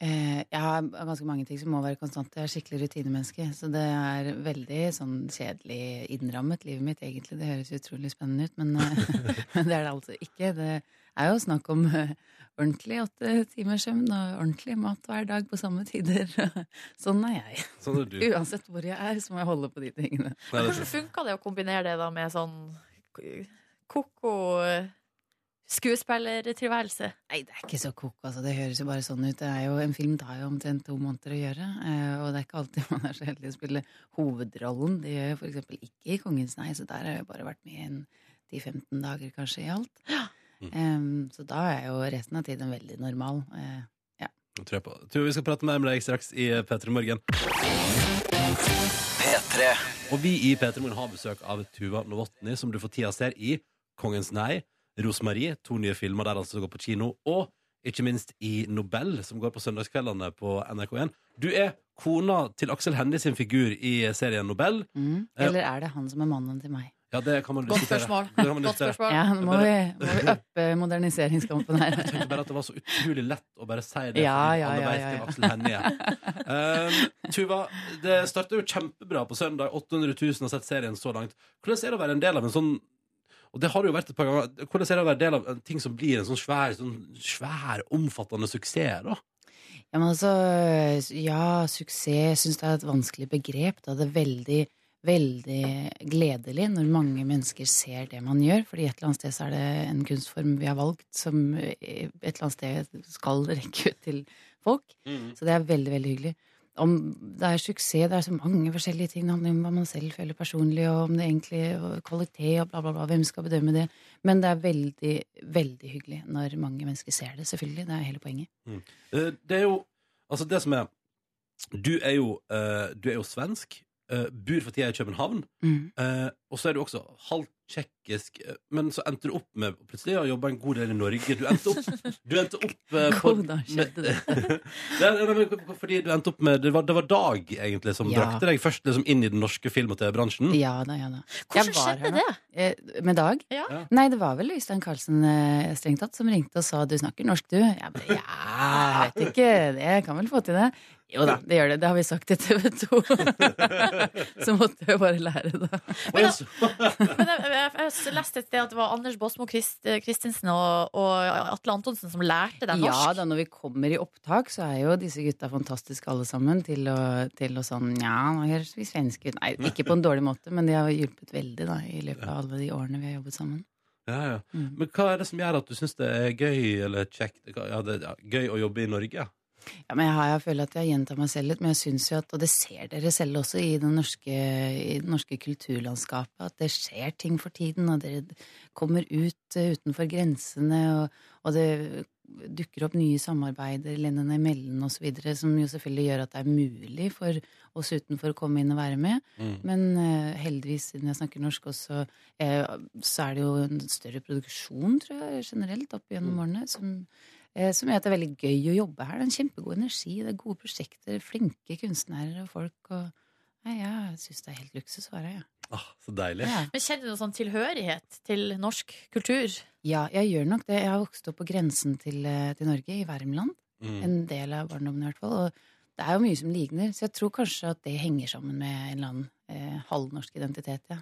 Eh, Jeg har ganske mange ting som må være konstante. Jeg er skikkelig rutinemenneske. Så det er veldig sånn kjedelig innrammet, livet mitt, egentlig. Det høres utrolig spennende ut, men, eh, men det er det altså ikke. Det er jo snakk om eh, ordentlig åtte timers søvn og ordentlig mat hver dag på samme tider. Sånn er jeg.
Sånn er du.
Uansett hvor jeg er, så må jeg holde på de tingene.
Nei, det er
Hvordan funka det å kombinere det da med sånn k- koko eh, skuespillertilværelse?
Nei, det er ikke så koko, altså. Det høres jo bare sånn ut. Det er jo, en film tar jo omtrent to måneder å gjøre, eh, og det er ikke alltid man er så heldig å spille hovedrollen. Det gjør jeg for eksempel ikke i Kongens nei, så der har jeg bare vært med i en 10-15 dager kanskje i alt. Em, så da er jo resten av tiden veldig normal. Eh,
Jeg tror jeg på. Tror vi skal prate mer med deg straks i eh, P3 Morgen. Og vi i P3 Morgen har besøk av Tuva Novotny, som du for tida ser i Kongens nei, Rosemarie, to nye filmer der altså som går på kino, og ikke minst i Nobel, som går på søndagskveldene på NRK1. Du er kona til Aksel Hennie sin figur i serien Nobel.
mm. Eller er det han som er mannen til meg?
Ja, det kan man
Godt
diskutere.
spørsmål.
Det kan man
Godt
diskutere.
spørsmål.
Ja, nå må vi, må vi uppe moderniseringskampen her.
tenkte bare at det var så utrolig lett å bare si det.
Ja,
fordi
ja,
alle
ja,
vet
ja,
hvem
ja.
Aksel Hennie er. Um, Tuva, det starta jo kjempebra på søndag. 800 000 har sett serien så langt. Hvordan er det å være en del av en sånn og det har det jo vært et par ganger Hvordan er det å være del av en ting som blir en sånn svær, sånn svær omfattende suksess, da?
Ja, men altså, ja, suksess Jeg syns det er et vanskelig begrep. Da. Det er veldig, veldig gledelig når mange mennesker ser det man gjør. Fordi et eller annet sted så er det en kunstform vi har valgt, som eh, et eller annet sted skal rekke ut til folk. Så det er veldig, veldig hyggelig. Om det er suksess, det er så mange forskjellige ting. Det handler om hva man selv føler personlig, og om det egentlig og kvalitet og bla, bla, bla. Hvem skal bedømme det? Men det er veldig, veldig hyggelig når mange mennesker ser det, selvfølgelig. Det er hele poenget.
Eh, Det er jo Altså, det som er Du er jo, eh, du er jo svensk. eh, bor for tida i København.
Mm.
Eh, og så er du også halvt tsjekkisk, eh, men så endte du opp med plutselig å jobbe en god del i Norge. Du endte opp, du endte opp eh, på-
Hvordan skjedde det?
Det er- nei, men Fordi du endte opp med Det var, det var Dag, egentlig, som
Ja.
brakte deg først liksom, inn i den norske film- og TV-bransjen.
Ja da, ja da.
Hvordan
Jeg var her
skjedde
nå.
det?
Eh, med Dag?
Ja.
Ja.
Nei, det var vel Øystein Carlsen eh, strengt tatt som ringte og sa du snakker norsk, du. Jeg bare, ja, jeg vet ikke, det kan vel få til det. Jo da, det gjør det. Det har vi sagt til TV 2. Så måtte jeg bare lære det.
Og jeg så-
Men jeg, jeg, jeg s- leste et sted at det var Anders Båsmo Christ, Christensen og, og Atle Antonsen som lærte deg
Ja
norsk.
da, når vi kommer i opptak, så er jo disse gutta fantastiske alle sammen til å, til å sånn Nja, nå høres vi svenske ut. Nei, ikke på en dårlig måte, men de har hjulpet veldig da i løpet av alle de årene vi har jobbet sammen.
ja, ja.
Mm.
Men hva er det som gjør at du syns det er gøy eller kjekt hva- ja, det, ja, Gøy å jobbe i Norge?
Ja, men jeg, har, jeg føler at jeg gjentar meg selv litt, men jeg synes jo at, og det ser dere selv også i det norske, i det norske kulturlandskapet, at det skjer ting for tiden, og dere kommer ut eh, utenfor grensene, og, og det dukker opp nye samarbeider landene imellom osv., som jo selvfølgelig gjør at det er mulig for oss utenfor å komme inn og være med.
Mm.
Men eh, heldigvis, siden jeg snakker norsk også, eh, så er det jo en større produksjon, tror jeg, generelt opp gjennom årene, som, eh, som gjør at det er veldig gøy å jobbe her. Det er en kjempegod energi, det er gode prosjekter, flinke kunstnere og folk. og Nei, jeg syns det er helt luksus å være her, jeg.
Ah, så deilig.
Ja.
Men kjenner du noen sånn tilhørighet til norsk kultur?
Ja, jeg gjør nok det. Jeg har vokst opp på grensen til, eh, til Norge, i Värmland.
Mm.
En del av barndommen i hvert fall. Og det er jo mye som ligner, så jeg tror kanskje at det henger sammen med en eller annen eh, halvnorsk identitet, ja.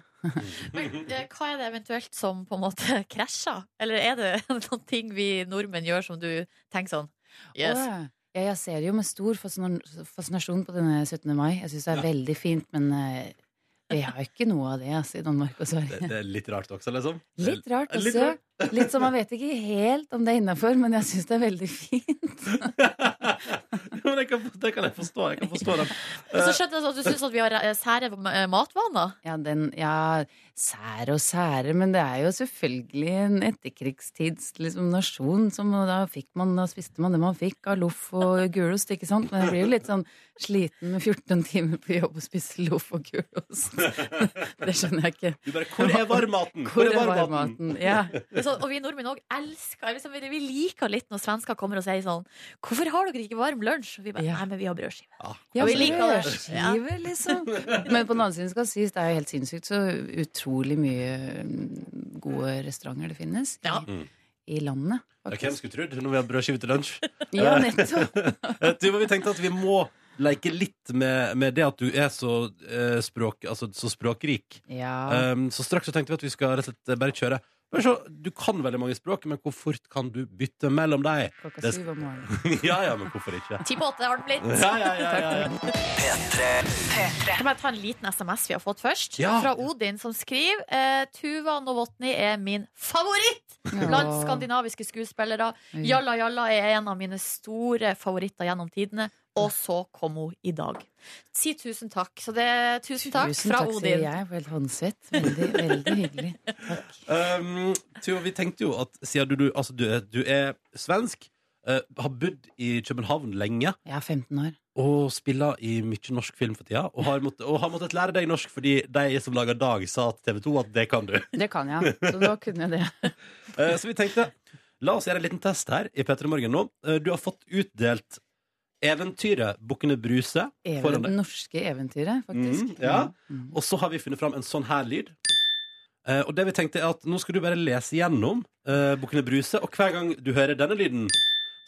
Men, eh, hva er det eventuelt som på en måte krasjer? Eller er det noen ting vi nordmenn gjør som du tenker sånn Yes.
Åh, ja, jeg ser jo med stor fascina- fascinasjon på denne 17. mai. Jeg syns det er veldig fint, men eh, vi har jo ikke noe av det altså, i Danmark og
Det,
Sverige.
det er litt rart også, liksom.
Litt rart
Litt
også. Litt som man vet ikke helt om det er innafor, men jeg syns det er veldig fint.
Men jeg kan, det kan jeg forstå. Jeg kan forstå den.
Og så skjønner jeg at du syns at vi har eh, sære eh, matvaner.
Ja, den, ja, sære og sære, men det er jo selvfølgelig en etterkrigstids liksom, nasjon. Som, og da, fikk man, da spiste man det man fikk av loff og gulost, ikke sant? Men jeg blir jo litt sånn sliten med 14 timer på jobb og spise loff og gulost. Det skjønner jeg ikke.
Du bare, Hvor er varmmaten?
Hvor er varmmaten? Ja.
Men så- og vi nordmenn òg elsker liksom, Vi liker litt når svensker kommer og sier sånn 'Hvorfor har dere ikke varm lunsj?' Og vi bare
Ja.
'Nei, men vi har brødskive'.
Ja,
Vi
så
liker det.
brødskive, liksom. Men på den andre siden skal det sies, det er jo helt sinnssykt så utrolig mye mm, gode restauranter det finnes i,
Ja.
Mm.
i landet.
Ja, hvem skulle trodd når vi har brødskive til lunsj?
Ja, nettopp.
Eh, Tuva, vi tenkte at vi må leke litt med, med det at du er så, eh, språk, altså, så språkrik.
Ja.
Um, så straks så tenkte vi at vi skal rett og slett eh, bare kjøre. Bare se, du kan veldig mange språk, men hvor fort kan du bytte mellom deg?
Klokka
det-
syv om morgenen.
ja, ja, men hvorfor ikke?
Ti på åtte har det blitt.
Ja, ja, ja, ja, ja.
Kan jeg ta en liten SMS vi har fått først?
Ja.
Fra Odin, som skriver eh, Tuva Novotny er min favoritt blant
Ja.
skandinaviske skuespillere.
Mm.
Jalla Jalla er en av mine store favoritter gjennom tidene. Og så kom hun i dag. Si tusen takk. Så det er tusen takk
Tusen
fra
takk, sier
Odin.
jeg. Jeg ble helt håndsvett. Veldig, veldig hyggelig. Takk.
Um, Tuva, vi tenkte jo at siden du, du, altså, du, er- du er svensk, eh, har bodd i København lenge,
Jeg er 15 år.
og spiller i mye norsk film for tida, og har måttet, og har måttet lære deg norsk fordi de som lager Dag, sa til TV 2 at det kan du.
Det kan jeg, så da kunne jeg det.
Eh, Så vi tenkte, la oss gjøre en liten test her i Petter i Morgen nå. Eh, Du har fått utdelt eventyret Bukkene Bruse
Even,
foran
det
deg.
norske eventyret, faktisk.
Mm, ja.
Mm.
Og så har vi funnet fram en sånn her lyd. Eh, Og det vi tenkte er at nå skal du bare lese gjennom eh, Bukkene Bruse, og hver gang du hører denne lyden,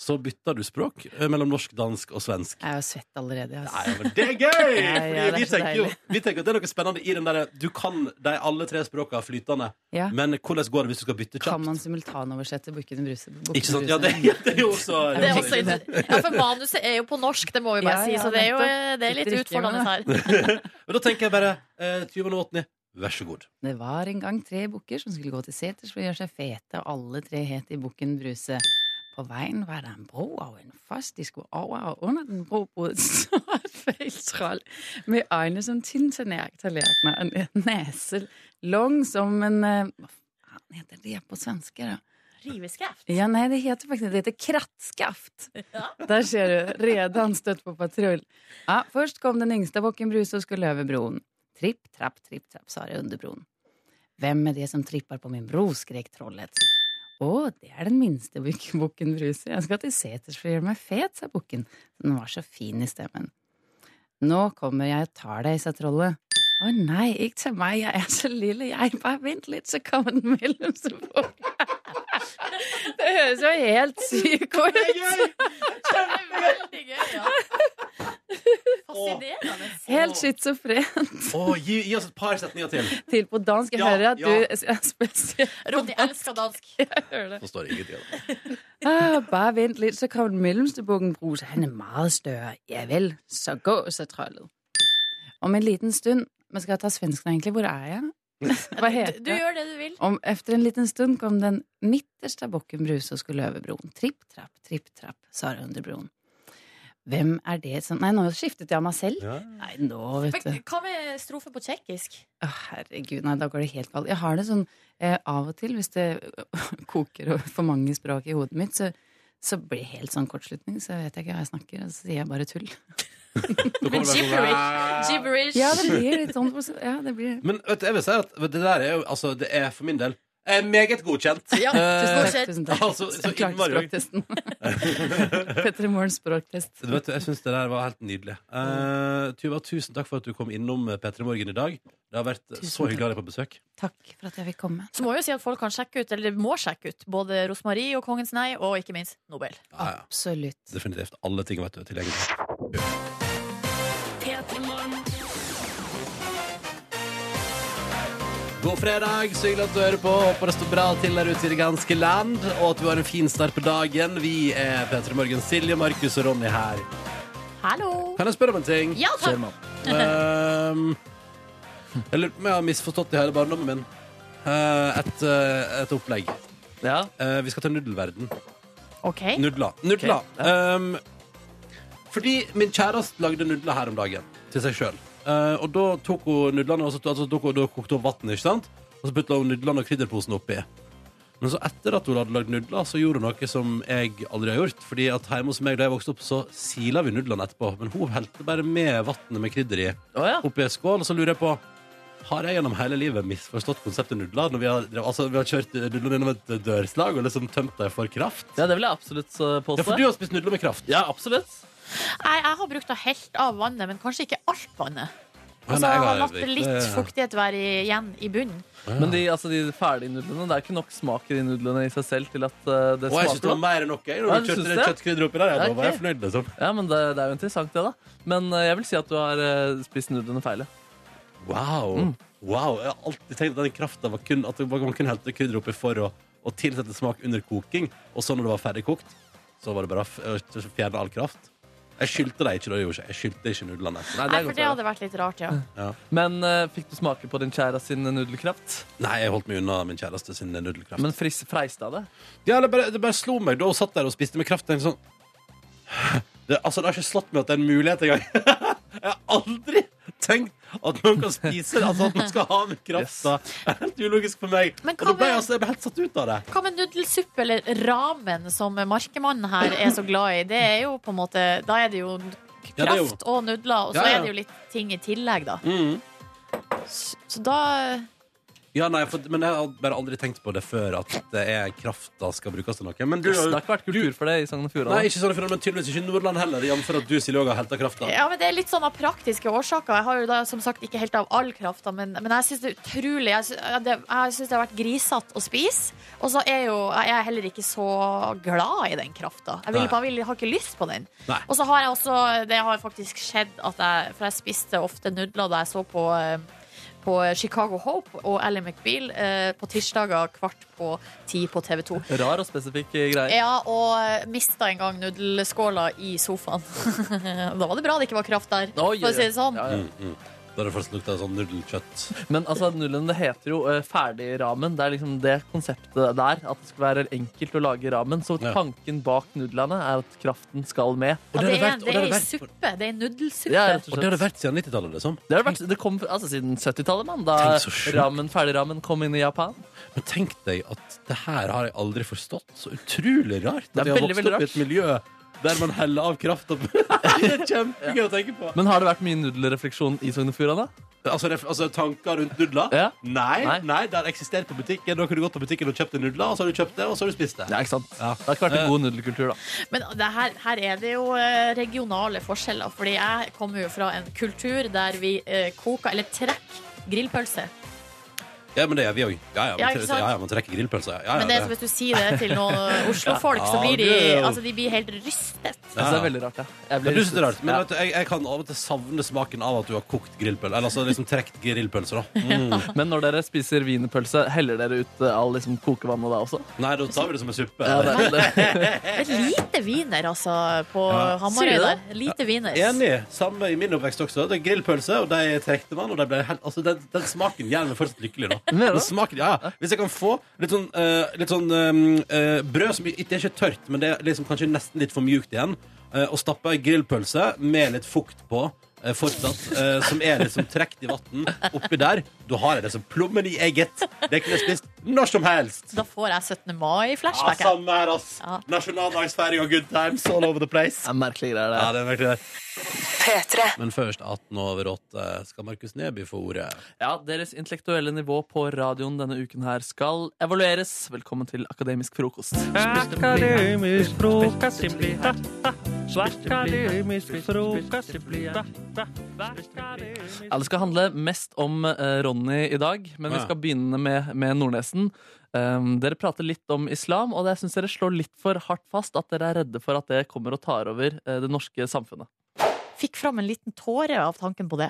så bytter du språk eh, mellom norsk, dansk og svensk.
Jeg er jo svett allerede. Altså.
Nei, men det er gøy!
Ja, ja,
Fordi
det er
vi,
så
tenker jo, vi tenker at det er noe spennende i den derre Du kan de alle tre språka flytende,
Ja.
men hvordan går det hvis du skal bytte
Kan
kjapt?
man simultanoversette Bukkene Bruse? Bukkene
Ikke sant? Ja,
Bruse?
det, det er jo også
Det er også, ja, for manuset er jo på norsk, det må vi bare
Ja,
si,
ja,
så det er jo
nettopp.
det er litt
Sitter ikke
utfordrende her.
Men da tenker jeg bare eh, 20 og 80, vær så god.
Det var en gang tre bukker som skulle gå til seters for å gjøre seg fete, og alle tre het i Bukken Bruse. På veien var det en bro og en fast. De skulle over, og under den bro bodde et stort feiltroll med øyne som tintenærtallerkener og en nese lang som en eh, Hva faen heter det på svenske, da?
Riveskreft.
Ja, nei, det heter faktisk det heter krattskaft.
Ja.
Der ser du, redan stött på patrull. Ja, först kom den yngsta bocken Bruse och skulle över bron. Tripp, trapp, tripp, trapp, sa det under bron. Vem är det som trippar på min bro, skrek trollet. Å, det er den minste bok- bokken Bruse. Jeg skal til seters for å gjøre meg fet, sa bukken. Den var så fin i stemmen. Nå kommer jeg og tar deg, sa trollet. Å nei, ikke til meg, jeg er så lille, jeg. Bare vent litt, så kommer den mellomste boken. Det høres jo helt syk ut.
Det er veldig gøy, ja. Fascinerende.
Helt schizofrent.
Å, gi, gi oss et par setninger til.
Til på dansk. Jeg
Ja,
hører at
ja.
du er spesiell.
Ronny elsker dansk.
Nå står det ingenting. av det.
Ah, bare vent lidt, så kommer den mellemste bukken Bruse. Han er meget større. Ja vel, så gå, så trollet. Om en liten stund Man skal ta svensken egentlig. Hvor er jeg? Hva heter
Du gjør det du vil.
Om efter en liten stund kom den mittersta bocken Bruse og skulle over bron. Tripp, trapp, tripp, trapp, sa det under bron. Hvem er det som Nei, nå skiftet jeg meg selv.
Ja.
Nei, nå, vet du.
Men hva med strofe på tsjekkisk?
Å, herregud, nei, da går det helt galt. Jeg har det sånn eh, av og til, hvis det koker over for mange språk i hodet mitt, så, så blir det helt sånn kortslutning, så vet jeg ikke hva jeg snakker, og så sier jeg bare tull.
Men
sånn
gibberish. gibberish.
Ja, det blir litt sånn ja, det blir.
Men vet du, jeg vil si at det der er jo Altså, det er for min del eh, meget godkjent.
Ja,
Eh,
takk,
Tusen takk.
altså, så
Jeg klarte
innmari-
språktesten. Petter i morgen språktest.
Du Eh, vet, jeg syns det der var helt nydelig. Eh, Tuva, tusen takk for at du kom innom P3 Morgen i dag. Det har vært
Tusen
så hyggelig å ha
takk.
deg på besøk.
Takk for at jeg fikk komme.
Så må jeg jo si at folk kan sjekke ut, eller må sjekke ut, både Rosmarie og Kongens nei, og ikke minst Nobel.
Ja, ja.
Absolutt.
Definitivt. Alle ting vet du er tilgjengelig. God fredag, så hyggelig at du hører på. Håper det står bra til der ute i det ganske land, og at du har en fin start på dagen. Vi er P3 Morgen, Silje, Markus og Ronny her.
Hallo!
Kan jeg spørre om en ting?
Ja, takk.
Ehm, jeg lurer på om jeg har misforstått i hele barndommen min. Eh, et, eh, et opplegg.
Ja.
Eh, vi skal til nudelverden.
OK.
Nudler. Nudler. Ehm, fordi min kjæreste lagde nudler her om dagen til seg sjøl. og da tok hun nudlene og så altså, tok hun, da kokte hun vann, ikke sant? Og så putta hun nudlene og krydderposen oppi. Men så etter at hun hadde lagd nudler, så gjorde hun noe som jeg aldri har gjort. Fordi at hjemme hos meg da jeg vokste opp, så sila vi nudlene etterpå. Men hun helte bare med vannet med krydder i
Å ja.
oppi en skål, og så lurer jeg på har jeg gjennom hele livet misforstått konseptet nudler? Når vi har, altså, vi har kjørt nudlene gjennom et dørslag og liksom tømt dem for kraft?
ja, det vil jeg absolutt eh,
Ja, for
påstå.
du har spist nudler med kraft.
Ja, absolutt.
Nei, jeg har brukt å helt av vannet, men kanskje ikke alt vannet.
Ja,
Altså,
nei,
jeg
jeg
har latt det litt
virkelig-
fuktighet være i- igjen i bunnen.
Men de, altså, de ferdige nudlene, det er ikke nok smak i de nudlene i seg selv til at eh, det
Og jeg synes
smaker
det var
godt.
mer enn nok. Jeg,
Ja,
når
du
du kjørte
synes
det
det?
kjøttkrydder oppi der, jeg,
Ja,
da var jeg
ok.
fornøyd, liksom.
Ja, men det, det er jo interessant, det, da. Men eh, jeg vil si at du har eh, spist nudlene feil. ja.
Wow. wow. Jeg har alltid tenkt at den krafta var kun At det var- man kunne helte krydder oppi for å, og tilsette smak under koking. Og så når det var ferdig kokt, så var det bare å f- å fjerne all kraft. Jeg skyldte deg ikke, da, jeg gjorde ikke. Jeg skyldte ikke nudlene.
Nei, det
Nei,
er
for
godt
det
å høre.
hadde vært litt rart, ja.
Men eh, fikk du smake på din kjære sin nudelkraft?
Nei, jeg holdt meg unna min kjæreste sin nudelkraft.
Men fris, freista det?
Ja, det bare, det bare slo meg da hun satt der og spiste med kraft. tenkte jeg Sånn. Det, altså, det har ikke slått meg at det er en mulighet engang. Jeg har aldri tenkt at noen kan spise det, altså at man skal ha med kraft. da. Det er helt ulogisk for meg.
Men
Og
hva
da ble jeg,
med-
altså, jeg ble helt satt ut av det.
Hva med nudelsuppe eller ramen, som markemannen her er så glad i? Det er jo på en måte Da er det jo
Ja, det er jo-
kraft og nudler, og så
Ja, ja. Mm.
er det jo litt ting i tillegg, da. S- Så da
Ja, nei, for, Men jeg har bare aldri tenkt på det før, at det er krafta skal brukes til noe. Men du,
Det har ikke vært kultur for det i Sogn og
nei,
Fjordane.
ikke sånn, for- men tydeligvis ikke Nordland heller, jf. at du, Silje, også har helta krafta.
Ja, men Det er litt sånn av praktiske årsaker. Jeg har jo da som sagt ikke helt av all kraft, da, men, men jeg syns det er utrolig Jeg syns det, jeg synes det har vært grisete å spise. Og så er jo jeg er heller ikke så glad i den krafta. Jeg, vil,
Nei.
jeg, vil, jeg har ikke lyst på den.
Nei.
Og så har jeg også Det har faktisk skjedd at jeg For jeg spiste ofte nudler da jeg så på eh, på Chicago Hope og Ally McBeal eh, på tirsdager kvart på ti på TV 2.
Rar og spesifikk eh, greie.
Ja, og mista en gang nudelskåla i sofaen. da var det bra det ikke var kraft der,
Oi,
for å si det sånn.
ja, ja.
Da det først lukta sånn nudelkjøtt.
Mm. Men altså, nudlene det heter jo eh, ferdigramen. Det er liksom det konseptet der. At det skal være enkelt å lage ramen. Så
Ja.
tanken bak nudlene er at kraften skal med.
Ja,
Og
det,
det har
er,
det vært- og det
det
har det
er ei
vært-
suppe. Det er ei nudelsuppe.
Ja, rett
Og det har det vært siden 90-tallet, liksom.
Det har vært, det kom altså, siden 70-tallet, mann. Da
Tenk så sjukt.
ramen, ferdigramen kom inn i Japan.
Men tenk deg at det her har jeg aldri forstått. Så utrolig rart. At
Det
jeg
er
har
veldig,
vokst
veldig
opp i et miljø der man heller av kraft opp. det er kjempegøy å tenke på.
Men har det vært mye nudelrefleksjon i Sogn og Fjordane?
Altså, ref, altså tanker rundt nudler?
Ja.
Nei, nei,
Nei.
det har eksistert på butikken. Da kunne du gått på butikken og kjøpt en nudler, og så har du kjøpt det, og så har du spist det. Eh,
Ja, ikke sant?
Ja.
Det har ikke vært en god nudelkultur, da.
Men det her, her er det jo eh, regionale forskjeller. Fordi jeg kommer jo fra en kultur der vi eh, koker, eller trekker, grillpølse.
Ja, men det gjør vi òg. Ja, ja,
Ja,
men
ikke
tre-
sant?
ja, ja, man trekker grillpølser. Ja, ja,
Men det er som
det.
hvis du sier det til noen Oslo-folk, så
Ja,
blir de,
det-
altså, de blir helt rystet.
Jeg synes det er veldig rart, ja.
Men
Jeg blir
du synes det er rart, men
Ja.
vet du, jeg, jeg kan av og til savne smaken av at du har kokt grillpølse. Eller altså liksom trekt grillpølse, da. Mm.
Men når dere spiser wienerpølse, heller dere ut eh, all liksom, kokevannet da også?
Nei, da tar vi det som en suppe.
Ja, det, det.
Det er lite wiener, altså, på
Sier
Hamarøy
du
der.
det?
Lite wiener.
Enig. Samme i min oppvekst også. Det er grillpølse, og de trekte man. Og de ble helt, altså, den, den smaken gjør meg fortsatt lykkelig. Da.
Mener du?
Den smaken, ja, ja. Hvis jeg kan få litt sånn, eh, litt sånn eh, eh, brød som ikke det er ikke tørt, men det er liksom kanskje nesten litt for mjukt igjen, eh, og stappe ei grillpølse med litt fukt på. eh, fortsatt, eh, som er liksom trukket i vann oppi der, da har jeg det som plommen i egget. Det kunne jeg spist når som helst.
Da får jeg 17.
Ja,
mai-flashback.
samme her, ass.
Ja.
Nasjonaldagsfeiring og good times all over the place.
Det er merkelige greier,
Ja,
det.
det er virkelig det. Men først 18 over 8 eh, skal Markus Neby få ordet.
Ja, Deres intellektuelle nivå på radioen denne uken her skal evalueres. Velkommen til Akademisk frokost.
Akademisk frokost det blir da, da. Akademisk frokost det blir da, da.
Ja, Det skal handle mest om eh, Ronny i dag, men
Å,
vi
ja.
skal begynne med, med Nordnesen. Um, dere prater litt om islam, og det- jeg syns dere slår litt for hardt fast at dere er redde for at det kommer og tar over eh, det norske samfunnet.
Fikk fram en liten tåre av tanken på det.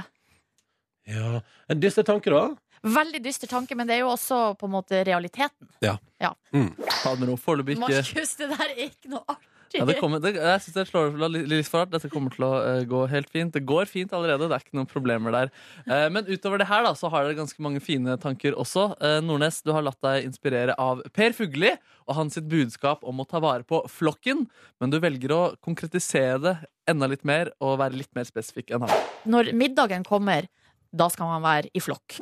Ja, En dyster tanke, da.
Veldig dyster tanke, men det er jo også på en måte realiteten.
Ta det med ro. Foreløpig ikke
Markus, det der er ikke noe artig.
ja, det kommer, det, Jeg syns dere slår det litt litt for hardt. Dette kommer til å eh, gå helt fint. Det går fint allerede. Det er ikke noen problemer der. Eh, men utover det her da, så har dere ganske mange fine tanker også. Eh, Nordnes, du har latt deg inspirere av Per Fugelli og hans sitt budskap om å ta vare på flokken, men du velger å konkretisere det enda litt mer og være litt mer spesifikk enn han.
Når middagen kommer, da skal man være i flokk.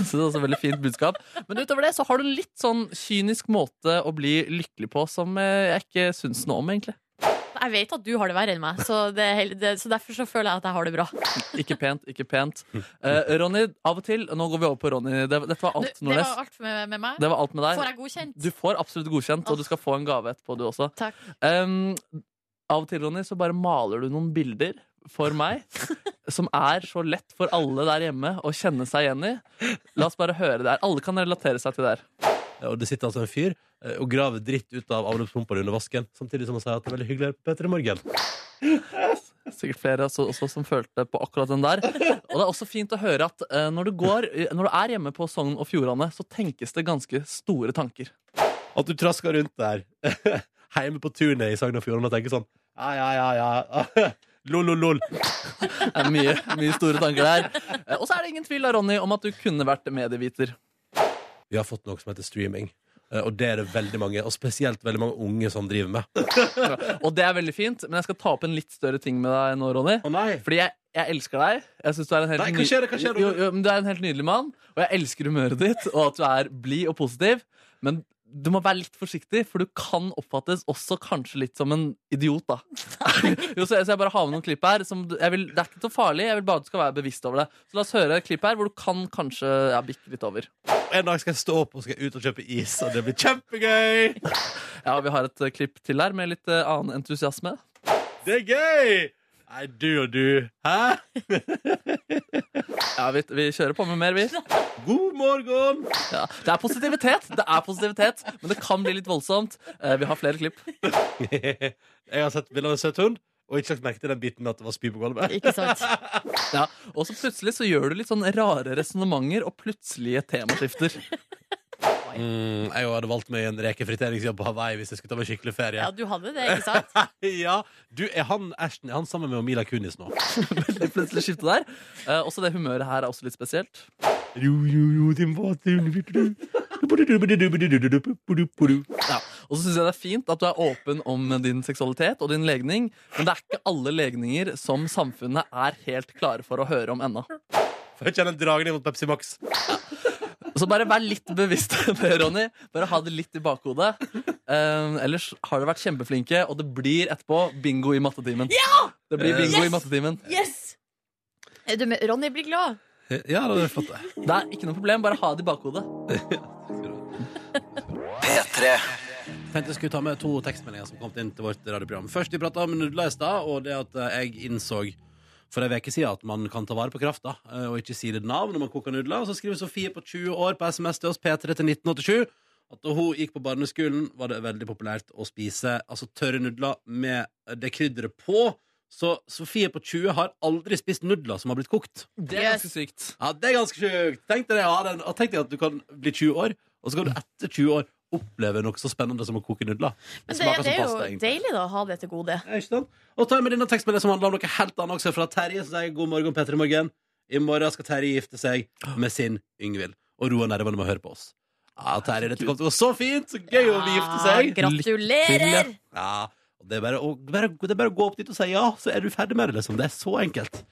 Så det er også veldig fint budskap. Men utover det så har du en litt sånn kynisk måte å bli lykkelig på som eh, jeg ikke syns noe om, egentlig.
Jeg vet at du har det verre enn meg, så, det, er hel- det, så derfor så føler jeg at jeg har det bra.
Ikke pent, ikke pent. Eh, Ronny, av og til Nå går vi over på Ronny. Det, dette var alt,
Du, det
Nordnes.
var alt med, med meg.
Det var alt med
Får
deg.
jeg godkjent?
Du får absolutt godkjent, og du skal få en gave etterpå, du også.
Takk.
Um, av og til, Ronny, så bare maler du noen bilder for meg som er så lett for alle der hjemme å kjenne seg igjen i. La oss bare høre det her. Alle kan relatere seg til det her.
Og det sitter altså en fyr eh, og graver dritt ut av avløpsprompa under vasken, samtidig som han sier at det er veldig hyggelig å høre på Petter i morgen.
Sikkert flere også, også som følte på akkurat den der. Og det er også fint å høre at eh, når, du går, når du er hjemme på Sogn og Fjordane, så tenkes det ganske store tanker.
At du trasker rundt der, hjemme på tunet i Sogn og Fjordane og tenker sånn Ja, ja, ja, ja. Lol, lol, lol.
Det er mye, mye store tanker der. Eh, Og så er det ingen tvil da, Ronny, om at du kunne vært medieviter.
Vi har fått noe som heter streaming. eh, Og det er det veldig mange, og spesielt veldig mange unge, som driver med.
Og det er veldig fint, men jeg skal ta opp en litt større ting med deg nå, Ronny.
Å nei!
Fordi jeg, jeg elsker deg. Jeg synes du er en helt
Nei, hva
ny-
skjer det? Hva skjer det?
Jo, jo, men du er en helt nydelig mann, og jeg elsker humøret ditt, og at du er blid og positiv. Men du må være litt forsiktig, for du kan oppfattes også kanskje litt som en idiot, da. jo, så, jeg, så jeg bare har med noen klipp her. Som du, jeg vil, det er ikke så farlig, jeg vil bare at du skal være bevisst over det. Så la oss høre et klipp her hvor du kan kanskje ja, bikke litt over.
En dag skal jeg stå opp og skal ut og kjøpe is, og det blir kjempegøy!
Ja, vi har et eh, klipp til her med litt eh, annen entusiasme.
Det er gøy! Nei, du og du. Hæ?
Ja, vi, vi kjører på med mer, vi.
God morgen!
Ja. Det er positivitet, det er positivitet, men det kan bli litt voldsomt. Eh, Vi har flere klipp.
jeg har sett bilde av en søt hund, og ikke lagt merke til den biten med at det var spy på gulvet.
Ikke sant?
Ja. Og så plutselig så gjør du litt sånn rare resonnementer og plutselige temaskifter.
Mm, jeg hadde valgt meg en rekefriteringsjobb på Hawaii hvis jeg skulle ta meg skikkelig ferie.
Ja, du hadde det, ikke sant?
ja, du, er han Ashton er han sammen med Mila Kunis nå?
Veldig plutselig skifte der. Eh, Også det humøret her er også litt spesielt.
Ro, ro, ro, din båt, ro, ro, ro, ro.
Ja. Og så syns jeg det er fint at du er åpen om din seksualitet og din legning, men det er ikke alle legninger som samfunnet er helt klare for å høre om ennå.
Får jeg kjenne en dragning mot Pepsi Max.
Så bare vær litt bevisst det, Ronny. Bare ha det litt i bakhodet. Eh, ellers har dere vært kjempeflinke, og det blir etterpå bingo i mattetimen. Det blir bingo i
Yes!
mattetimen.
Yes! Er Eh, du med? Ronny blir glad.
Ja, det er flott, det.
Det er ikke noe problem, bare ha det i bakhodet.
Tenkte jeg skulle ta med to tekstmeldinger som kom inn til vårt radioprogram. Først, vi prata om nudler i stad, og det at eh, jeg innså for ei uke siden at man kan ta vare på krafta eh, og ikke si det navn når man koker nudler. Og så skriver Sofie på 20 år på SMS til oss P3 til 1987 at da hun gikk på barneskolen, var det veldig populært å spise altså tørre nudler med det krydderet på. Så Sofie på 20 har aldri spist nudler som har blitt kokt.
Det er ganske sykt.
Ja, Det er ganske sjukt. Tenk deg, det, ja, den, og tenk deg at du kan bli 20 år, og så kan du etter 20 år oppleve noe så spennende som å koke nudler.
Men det,
smaker
det
som
er jo
pasta, egentlig.
deilig da, å ha det til gode.
Ja, ikke sant? Og ta med denne tekstmeldingen som handler om noe helt annet også fra Terje, som sier god morgen, Petter i morgen. I morgen skal Terje gifte seg med sin Yngvild. Og roa nervene med å høre på oss. Ja, Terje, dette kommer til å gå så fint! Så gøy å gifte
Ah,
seg!
gratulerer!
Ja, og det er bare, å- bare, det er bare å gå opp dit og si ja, så er du ferdig med det, liksom. Det er så enkelt.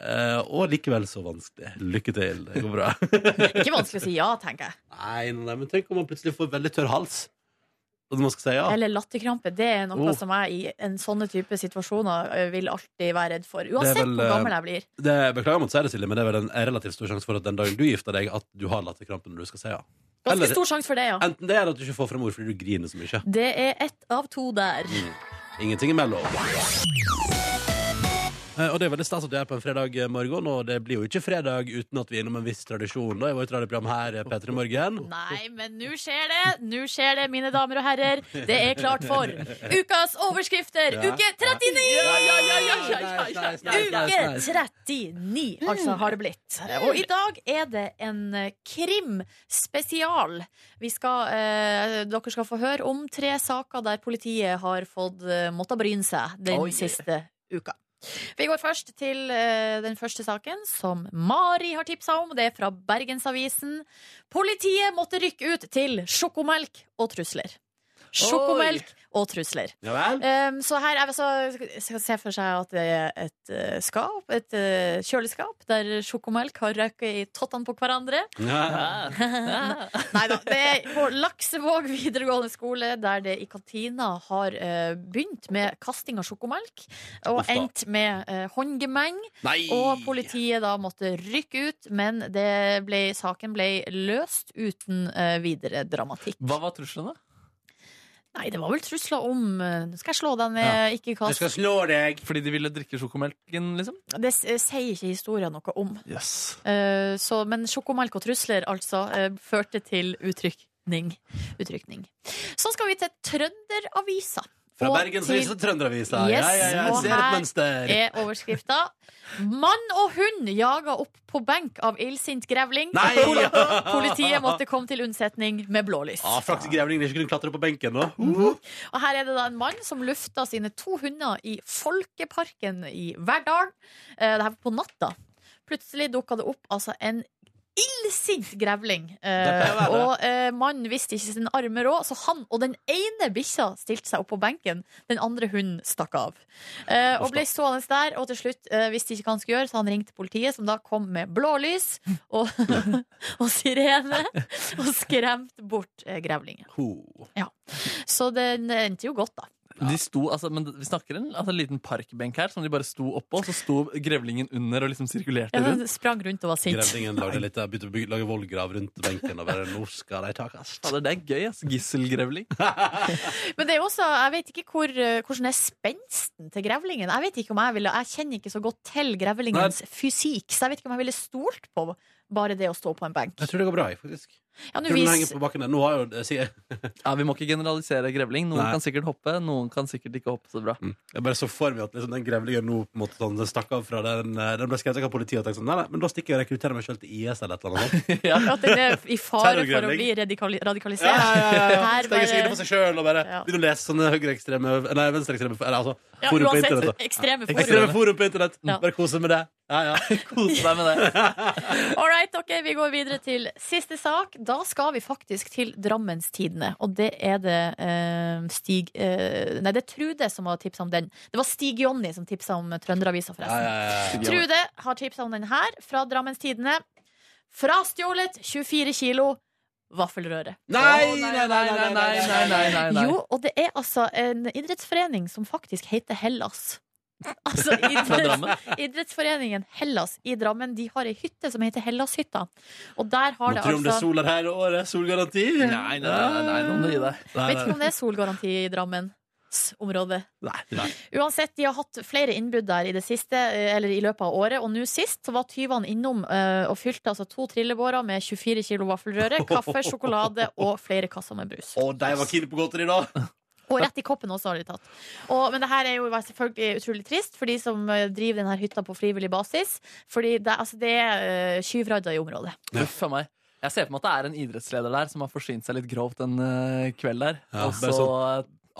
Eh, og likevel så vanskelig. Lykke til. Det går bra.
Ikke vanskelig å si ja, tenker jeg.
Nei, nei, nei, men tenk om man plutselig får veldig tørr hals. Og man skal si ja.
Eller latterkrampe. Det er noe
Oh.
som jeg i en sånne type situasjoner ø, vil alltid være redd for.
er
Uansett
vel, eh,
hvor
ø,
gammel jeg blir.
Det, beklager om å si det, Silje, men det er vel en relativt stor sjanse for at den dagen du gifter deg, at du har latterkrampe når du skal si ja.
Ganske
Eller,
stor sjanse for det, ja.
enten det eller at du ikke får frem ord fordi du griner så mye.
Det er ett av to der.
Mm. Ingenting imellom. Eh, Og det er veldig stas at du er på en fredag eh, morgen, og det blir jo ikke fredag uten at vi er innom en viss tradisjon. Da er vårt radioprogram her, eh, P3 Morgen.
Nei, men nå skjer det! Nå skjer det, mine damer og herrer. Det er klart for ukas overskrifter!
Ja.
Uke 39! Uke
nice,
39, altså, har det blitt. Og i dag er det en eh, krimspesial. Vi skal, eh, dere skal få høre om tre saker der politiet har fått eh, måttet bryne seg den
Oi.
siste uka. Vi går først til eh, den første saken, som Mari har tipsa om. Det er fra Bergensavisen. Politiet måtte rykke ut til sjokomelk og trusler. Sjokomelk og trusler.
Ja vel?
Um, så her er vi så skal se for seg at det er et eh, skap, et eh, kjøleskap, der sjokomelk har røket i tottene på hverandre.
Ja.
Nei da. Det er på Laksevåg videregående skole, der det i kantina har eh, begynt med kasting av sjokomelk, og
Uff da.
endt med eh, håndgemeng.
Nei!
Og politiet da måtte rykke ut, men det ble, saken ble løst uten eh, videre dramatikk.
Hva var truslene?
Nei, det var vel trusler om eh, Nå skal jeg slå deg med ikke
Jeg
kast.
skal slå deg!
Fordi de ville drikke sjokomelken, liksom?
Det s- eh, sier ikke historien noe om.
Yes.
Eh, så, men sjokomelk og trusler altså eh, førte til utrykning. utrykning. Så skal vi til Trønderavisa.
Fra
Og
Bergensavisa
til-
til Trønderavisa.
Yes,
Ja, ja, ja, jeg
og
ser
her
et mønster.
er overskrifta. Mann og hund jaga opp på benk av illsint grevling.
Nei!
Pol- Politiet måtte komme til unnsetning med blålys.
Ah, Flaks grevlingen ikke kunne klatre på benken nå.
Og her er det da en mann som lufta sine to hunder i Folkeparken i Verdal. Eh, Det her var på natta. Plutselig dukka det opp altså en illsint grevling. Eh, og eh, mannen visste ikke sin arme råd, så han og den ene bikkja stilte seg opp på benken. Den andre hunden stakk av. Eh, og ble stående der, og til slutt eh, visste ikke hva han skulle gjøre, så han ringte politiet, som da kom med blålys og, og sirene og skremte bort eh, grevlingen.
Ho.
Så den endte jo godt, da.
De sto, altså, men vi snakker en, altså, en liten parkbenk her som de bare sto oppå, og så sto grevlingen under og liksom sirkulerte
Ja,
rundt.
den sprang rundt og var sint.
Grevlingen lagde litt, eh, begynte å bygge- lage vollgrav rundt benken. Og bare, nå skal de takes.
Fader, det er gøy, ass. Gisselgrevling.
Men det er jo også, jeg vet ikke hvor, eh, hvordan er spensten til grevlingen. Jeg vet ikke om jeg ville, jeg kjenner ikke så godt til grevlingens fysikk, så jeg vet ikke om jeg ville stolt på bare det å stå på en benk.
Jeg tror det går bra. jeg, faktisk
Ja, nå
Tror du den
vis,
henger på bakken der? Nå har jo det- sier jeg-
Ja, vi må ikke generalisere grevling. Noen
Nei.
kan sikkert hoppe, noen kan sikkert ikke hoppe så bra.
Jeg bare så for meg at liksom, den grevlingen nå på en måte sånn, den stakk av fra den eh, Den ble skrevet av politiet og tenkte sånn Nei, nei, men da stikker jeg og rekrutterer meg sjøl til IS eller et eller annet. sånt.
Ja.
at den er i fare for å
Terrorgrevling.
bli radikali-
Ja,
radikalisert.
ja, ja, ja.
Her
Stenger seg inne
bare-
for seg sjøl og bare
Ja.
begynner å lese sånne høyreekstreme Nei, venstreekstreme eller altså
Ja,
forum på internett.
uansett,
da.
ekstreme
Ekstreme
forhold.
forum på internett.
Ja.
Bare kose med det. Ja, ja.
Kos deg med det.
All right, ok, vi går videre til siste sak. Da skal vi faktisk til Drammens Tidende, og det er det eh, Stig eh, Nei, det er Trude som har tipsa om den. Det var Stig Jonny som tipsa om Trønderavisa, forresten.
Ja, ja, ja, ja.
Trude har tipsa om den her fra Drammens Tidende. Frastjålet 24 kilo vaffelrøre.
Nei,
Å,
nei, nei, nei, nei, nei, nei.
nei, nei.
Jo, og det er altså en idrettsforening som faktisk heter Hellas. Altså
Fra
idretts,
Drammen.
Idrettsforeningen Hellas i Drammen De har ei hytte som heter Hellashytta. Og der har det
Måtte du om det er
altså
sol her hele året? Solgaranti?
Nei, nei, nei, nei, nå må du gi deg.
Nei,
Vet ikke om det er solgaranti i Drammens område.
nei, nei.
Uansett, de har hatt flere innbrudd der i det siste, eh, eller i løpet av året. Og nå sist så var tyvene innom eh, og fylte altså to trillebårer med 24 kilo vaffelrøre, kaffe, sjokolade og flere kasser med brus.
Å, de var keen på godteri, da!
Og rett i koppen også har de tatt. Og, men det her er jo selvfølgelig utrolig trist for de som eh, driver denne hytta på frivillig basis. Fordi det, altså, det er uh, skyvradder i området.
Uff a meg. Jeg ser for meg at det er en idrettsleder der som har forsynt seg litt grovt en eh, kveld der.
Ja,
og
bare
så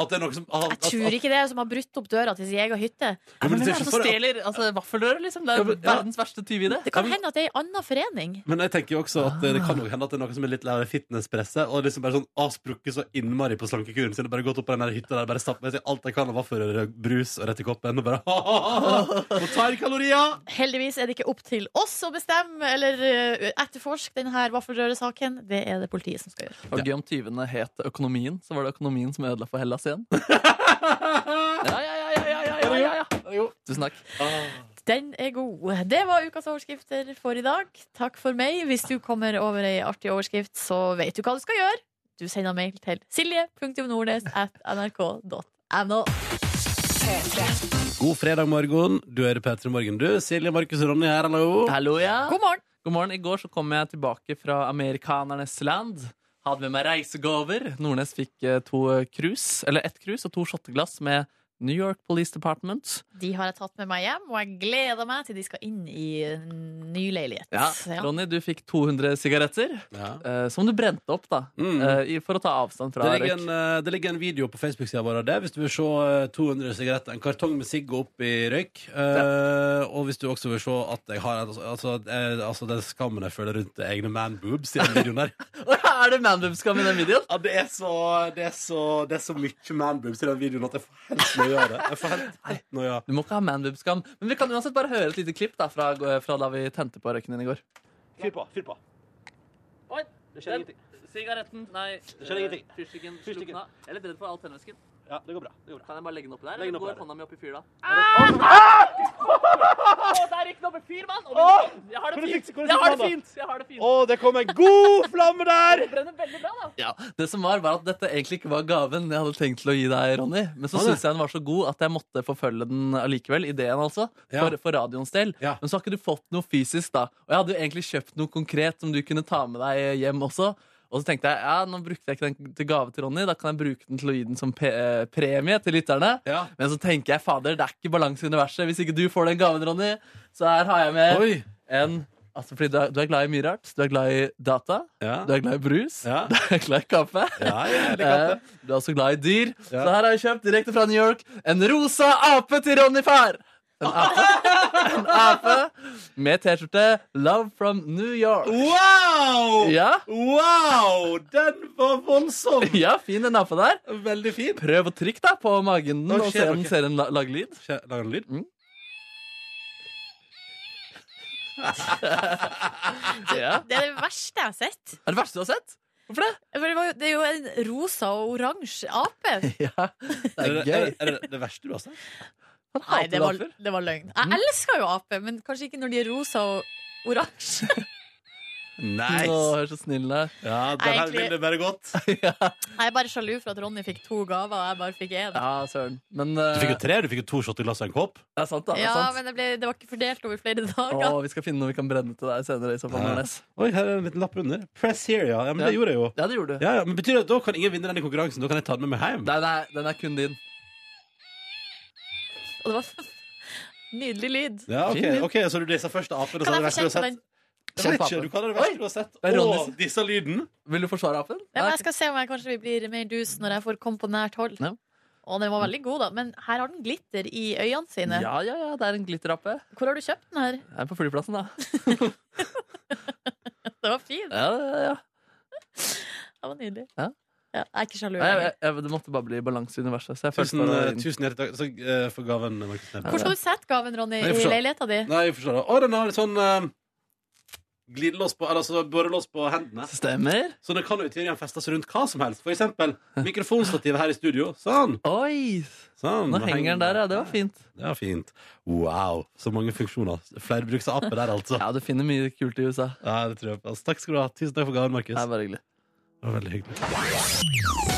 At det er noe som at,
Jeg tror ikke det er som har brutt opp døra til sin egen hytte.
Ja, men
Hvem
det er
er det
ikke
som
for-
stjeler altså, vaffelrør, liksom? Det er
Ja,
jo
men- ja.
verdens verste tyveidé.
Det kan hende at det er en annen forening.
Men jeg tenker jo også at eh, det, det kan jo hende at det er noe som er litt lei av fitnesspresset. Og liksom bare sånn ah, sprukket så innmari på slankekuren sin. og Bare gått opp på den der hytta der bare stappet med seg alt jeg kan av vaffelrør, brus og rett i koppen. Og bare ha-ha-ha! Og tar kalorier!
Heldigvis er det ikke opp til oss å bestemme eller eh, etterforske denne vaffelrøresaken. Det er det politiet som skal gjøre.
Det var gøy om tyvene het Økonomien, så var det økonomien som ødela for Hellas igjen. Ja, ja, ja, ja, ja, ja, ja, ja, ja. Tusen takk.
Den er god. Det var ukas overskrifter for i dag. Takk for meg. Hvis du kommer over ei artig overskrift, så vet du hva du skal gjøre. Du sender mail til silje.nordnes at nrk.no.
God fredag morgen. Du hører P3 Morgen, du. Silje, Markus og Ronny her, hallo.
Hallo, ja.
God morgen!
God morgen. I går så kom jeg tilbake fra amerikanernes land. Hadde med meg reisegaver. Nordnes fikk eh, to eh, krus, eller ett krus og to shotteglass med New York Police Department.
De har jeg tatt med meg hjem, og jeg gleder meg til de skal inn i en ny leilighet. Ja.
Ronny, du fikk 200 sigaretter,
Ja.
eh, som du brente opp, da.
Mm.
eh, i- For å ta avstand fra
Det ligger,
røyk.
en, eh, det ligger en video på Facebook-sida vår av det. Hvis du vil se eh, 200 sigaretter, en kartong med sigg og opp i røyk. Eh, Og hvis du også vil se at jeg har altså, altså, eh, altså den skammen jeg føler rundt egne man-boobs i den videoen der.
Er det manboobskam i den videoen?
Ja, det, er så, det, er så, det er så mye man-boobs i den videoen at jeg får helt noia av det. Jeg får helt, helt noia.
Du må ikke ha manboobskam. Men vi kan uansett bare høre et lite klipp da, fra, eh, fra da vi tente på røyken din i går.
Fyr på, fyr på.
Oi,
Det skjer ingenting.
Sigaretten, nei
skjer eh, ingenting.
Fyrstikken
Fyrstikken. slukna.
Jeg er litt redd for all tennvæsken.
Ja, det går bra. Det går bra.
Kan jeg bare legge den oppi der?
Legg den eller oppi går der.
hånda mi oppi fyr da? Der gikk den oppi fyr, mann!
Åh!
Jeg har
det Hvordan fint. gikk- hvordan Jeg gikk har det den da? fint,
Jeg har det fint!
Å, det kom en god flamme der!
brenner veldig bra, da. Ja, det som var, var at dette egentlig ikke var gaven jeg hadde tenkt til å gi deg, Ronny. Men så
Var det?
syntes jeg den var så god at jeg måtte forfølge den allikevel. Ideen, altså.
Ja.
For, for radioens del.
Ja.
Men så har ikke du fått noe fysisk, da. Og jeg hadde jo egentlig kjøpt noe konkret som du kunne ta med deg hjem også. Og så tenkte jeg ja, nå brukte jeg ikke den til gave til Ronny, da kan jeg bruke den til å gi den som pe eh, premie til lytterne.
Ja.
Men så tenker jeg, fader, det er ikke balanse i universet. Hvis ikke du får den gaven, Ronny, så her har jeg med
Oi!
en Altså, fordi du er, du er glad i mye rart. Du er glad i data.
Ja.
Du er glad i brus.
Ja.
Du er glad i kaffe.
Ja, jeg liker det.
Eh, Du er også glad i dyr.
Ja.
Så her har jeg kjøpt direkte fra New York en rosa ape til Ronny far. En ape, en ape med T-skjorte 'Love from New York'.
Wow!
Ja,
Wow! Den var voldsom!
ja fin den apen der.
Veldig fin.
Prøv å trykke da på magen
Nå
og se
skjer
om den
noe.
ser en la- lage lyd.
Skje- Lager den lyd?
Ja.
Det er det verste jeg har sett.
Er det verste du har sett? Hvorfor det?
For det, var jo, det er jo en rosa og oransje ape.
Ja, det
Er
er
det, er,
gøy.
det- er det det verste du har sett?
Han
Nei, det
hater
var,
aper.
det var løgn. Jeg elsker jo ape, men kanskje ikke når de er rosa og oransje.
Nice.
Å, hør så snill du er.
Ja, den her
Egentlig-
vil det bare godt.
Jeg er bare sjalu for at Ronny fikk to gaver, og jeg bare fikk én.
Ja, søren. Men eh,
Du fikk jo tre, du fikk jo to shot i glasset og en kopp.
det er sant, da. Det
Ja,
er sant.
men det, ble, det var ikke fordelt over flere dager.
Å, vi skal finne noe vi kan brenne til deg senere. i så fall,
Ja.
Nordnes.
Oi, her er en liten lapp under. Press here, ja. ja men det
Ja.
gjorde jeg jo.
Ja, det gjorde du.
Ja, ja, men Betyr det at da kan ingen vinne denne konkurransen? Da kan jeg ta den med meg hjem?
Den er, den er kun din.
Og det var nydelig lyd.
Ja, ok,
Fin.
ok, Så du disse første apene
Kan
sa det verste
jeg få
du har
kjenne på
sett?
den?
Jeg vet ikke, du kaller det verste
Oi,
du har sett.
er Ronny
Å,
sin.
disse lyden.
Vil du forsvare apen?
Ja, men
Nei,
jeg skal se om jeg kanskje vi blir mer dus når jeg får komme på nært hold.
Ja.
Og den var veldig god, da. Men her har den glitter i øynene sine.
Ja, ja, ja, det er en glitterappe.
Hvor har du kjøpt den her?
Jeg er på flyplassen, da.
Det var fin.
Ja, ja, ja.
Det var nydelig.
Ja.
Ja, jeg er ikke sjalu.
Nei, Jeg, jeg, jeg, det måtte bare bli balanse i universet. Så
Tusen,
jeg følte bare
eh,
inn.
tusen hjertelig takk så, eh, for gaven, Markus Neby.
Hvor skal du sette gaven, Ronny?
Nei, jeg
I
får se.
leiligheta di?
Nei, jeg forstår det. Å, den har sånn uh, glidelås på Eller altså borrelås på hendene.
Stemmer.
Så den kan jo i teorien festes rundt hva som helst. For eksempel mikrofonstativet her i studio. Sånn.
Oi!
sånn.
Nå henger den der, ja. Det var fint.
Det var fint. Wow, så mange funksjoner. Flerbruksape der, altså.
Ja, du finner mye kult i USA.
Ja, det tror jeg på. Altså, takk skal du ha. Tusen takk for gaven, Markus.
Det er bare hyggelig.
Det var veldig hyggelig.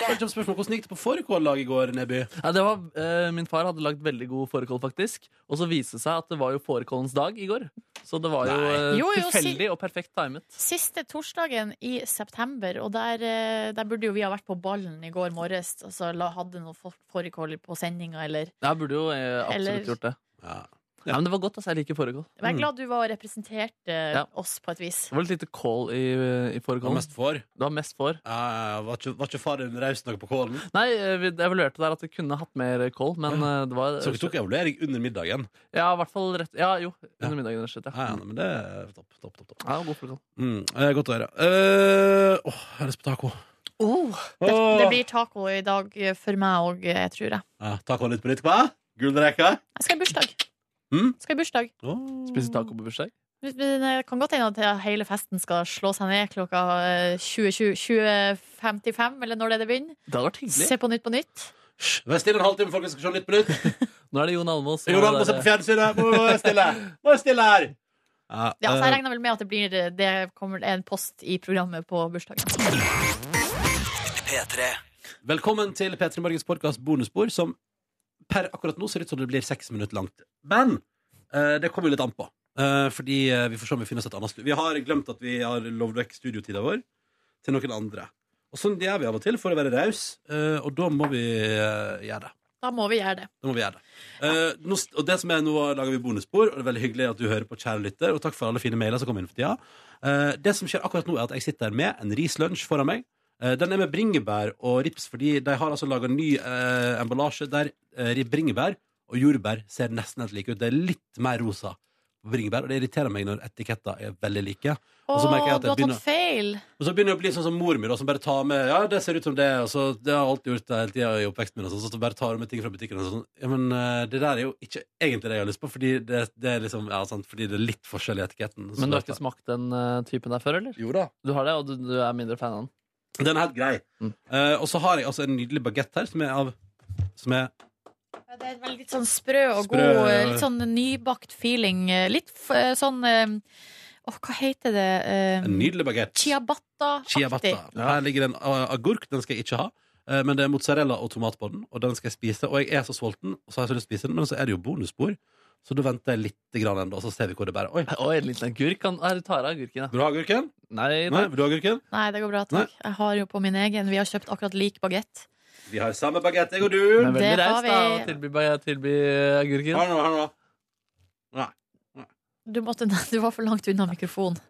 Først opp spørsmål, Hvordan gikk det på fårikållag i går, Neby?
Ja, det var, eh, min far hadde lagd veldig god fårikål, faktisk. Og så viste det seg at det var jo fårikålens dag i går. Så det var jo, eh,
Jo, jo, si-
tilfeldig og perfekt timet.
Siste torsdagen i september, og der, eh, der burde jo vi ha vært på ballen i går morges. Altså, la- hadde noe for- fårikål på sendinga, eller
Jeg burde jo eh,
Eller-
absolutt gjort det.
Ja.
Ja, men det var godt, altså. Jeg liker fårikål.
Men jeg er glad du var og representerte eh,
Ja.
oss på et vis.
Det var litt lite kål i, eh, i
Hva
fårikålen.
mest for?
Det var mest får.
Eh, var, ikke, var ikke far din raus nok på kålen?
Nei, eh, vi evaluerte der at vi kunne hatt mer kål, men eh, det var
Så dere tok evaluering under middagen?
Ja, i hvert fall rett Ja, jo. Under middagen, rett og slett.
Ja, ja,
Ja.
men det er topp, topp, topp, topp.
Ja, god fårikål.
Mm, eh, godt å høre. Eh, Åh, jeg har lyst på taco.
Det,
Åh.
det blir taco i dag eh, for meg òg, tror jeg.
Ja, taco litt på nytt, hva? Gullrekka?
Jeg skal i bursdag.
Mm?
Skal i bursdag.
Åh.
Spise
Mm.
taco på bursdag?
Men Det kan godt hende at hele festen skal slå seg ned klokka eh, 20 20.55, eller når det er det begynner.
Det hadde vært hyggelig.
Se på Nytt på Nytt.
Hysj, Vær stille en halvtime, folkens, skal se Nytt på nytt.
Nå er det Jon Almaas. som
Jon
er
Almaas
der,
er på
eh,
fjernsynet. Må må være stille. Må være stille her. Eh,
Ja, så jeg regner vel med at det blir eh, Det kommer en post i programmet på bursdagen.
Velkommen til P3 Morgens podkast bonusbord, som per akkurat nå ser ut som det blir seks minutter langt. Men eh, det kommer jo litt an på. Eh, fordi eh, vi får se om vi finner oss et annet studio. Vi har glemt at vi har lovd vekk studiotida vår til noen andre. Og sånn gjør vi av og til for å være raus, eh, og da må vi eh, gjøre det.
Da må vi gjøre det.
Da må vi gjøre det. Eh, nå, og det som er Nå lager vi bonusspor, og det er veldig hyggelig at du hører på, kjære lytter. Og takk for alle fine mailer som kom inn for tida. Eh, det som skjer akkurat nå, er at jeg sitter her med en rislunsj foran meg. Eh, den er med bringebær og rips, fordi de har altså laga ny eh, emballasje der eh, ri- bringebær og jordbær ser nesten helt like ut. Det er litt mer rosa på bringebær, og det irriterer meg når etiketter er veldig like.
Å,
Og så merker jeg at
du
jeg
har
begynner-
tatt feil!
Og så begynner jeg å bli sånn som mor mi, da, som bare tar med Ja, det ser ut som det, og så Det har jeg alltid gjort det hele tida i oppveksten min, og sånn, så, bare tar hun med ting fra butikken og sånn. Ja, men eh, det der er jo ikke egentlig det jeg har lyst på, fordi det, det er liksom Ja, sant, fordi det er litt forskjell i etiketten. Så
Men du har
bare-
ikke smakt den eh, typen der før, eller?
Jo da.
Du har det, og du, du er mindre fan av den?
Den er helt grei.
Mm.
Eh, og så har jeg altså en nydelig bagett her, som er av Som er
Ja, Det er en veldig litt sånn sprø og
Sprø,
god,
ja, ja.
litt sånn nybakt feeling. Litt f sånn eh, Åh, hva heter det? Eh,
en nydelig bagett.
Ciabatta-aktig.
Ciabatta. Her ligger det en eh, agurk, den skal jeg ikke ha. Eh, Men det er mozzarella og tomat på den, og den skal jeg spise. Og jeg er så sulten, og så har jeg så lyst til å spise den, men så er det jo bonusbord. Så da venter jeg litt grann ennå, og så ser vi hvor det bærer. Oi,
Oi, en liten agurk. Han er tar av agurken, ja.
Vil du ha agurken?
Nei,
Nei,
nei.
vil du ha agurken?
Nei, det går bra. Takk. Jeg har jo på min egen. Vi har kjøpt akkurat lik bagett.
Vi har samme bagett, jeg og du.
Men veldig
Det har
raust, da, å
vi.
tilby, tilby agurken.
Har du noe, har du noe?
Du, måtte, du var for langt unna mikrofonen.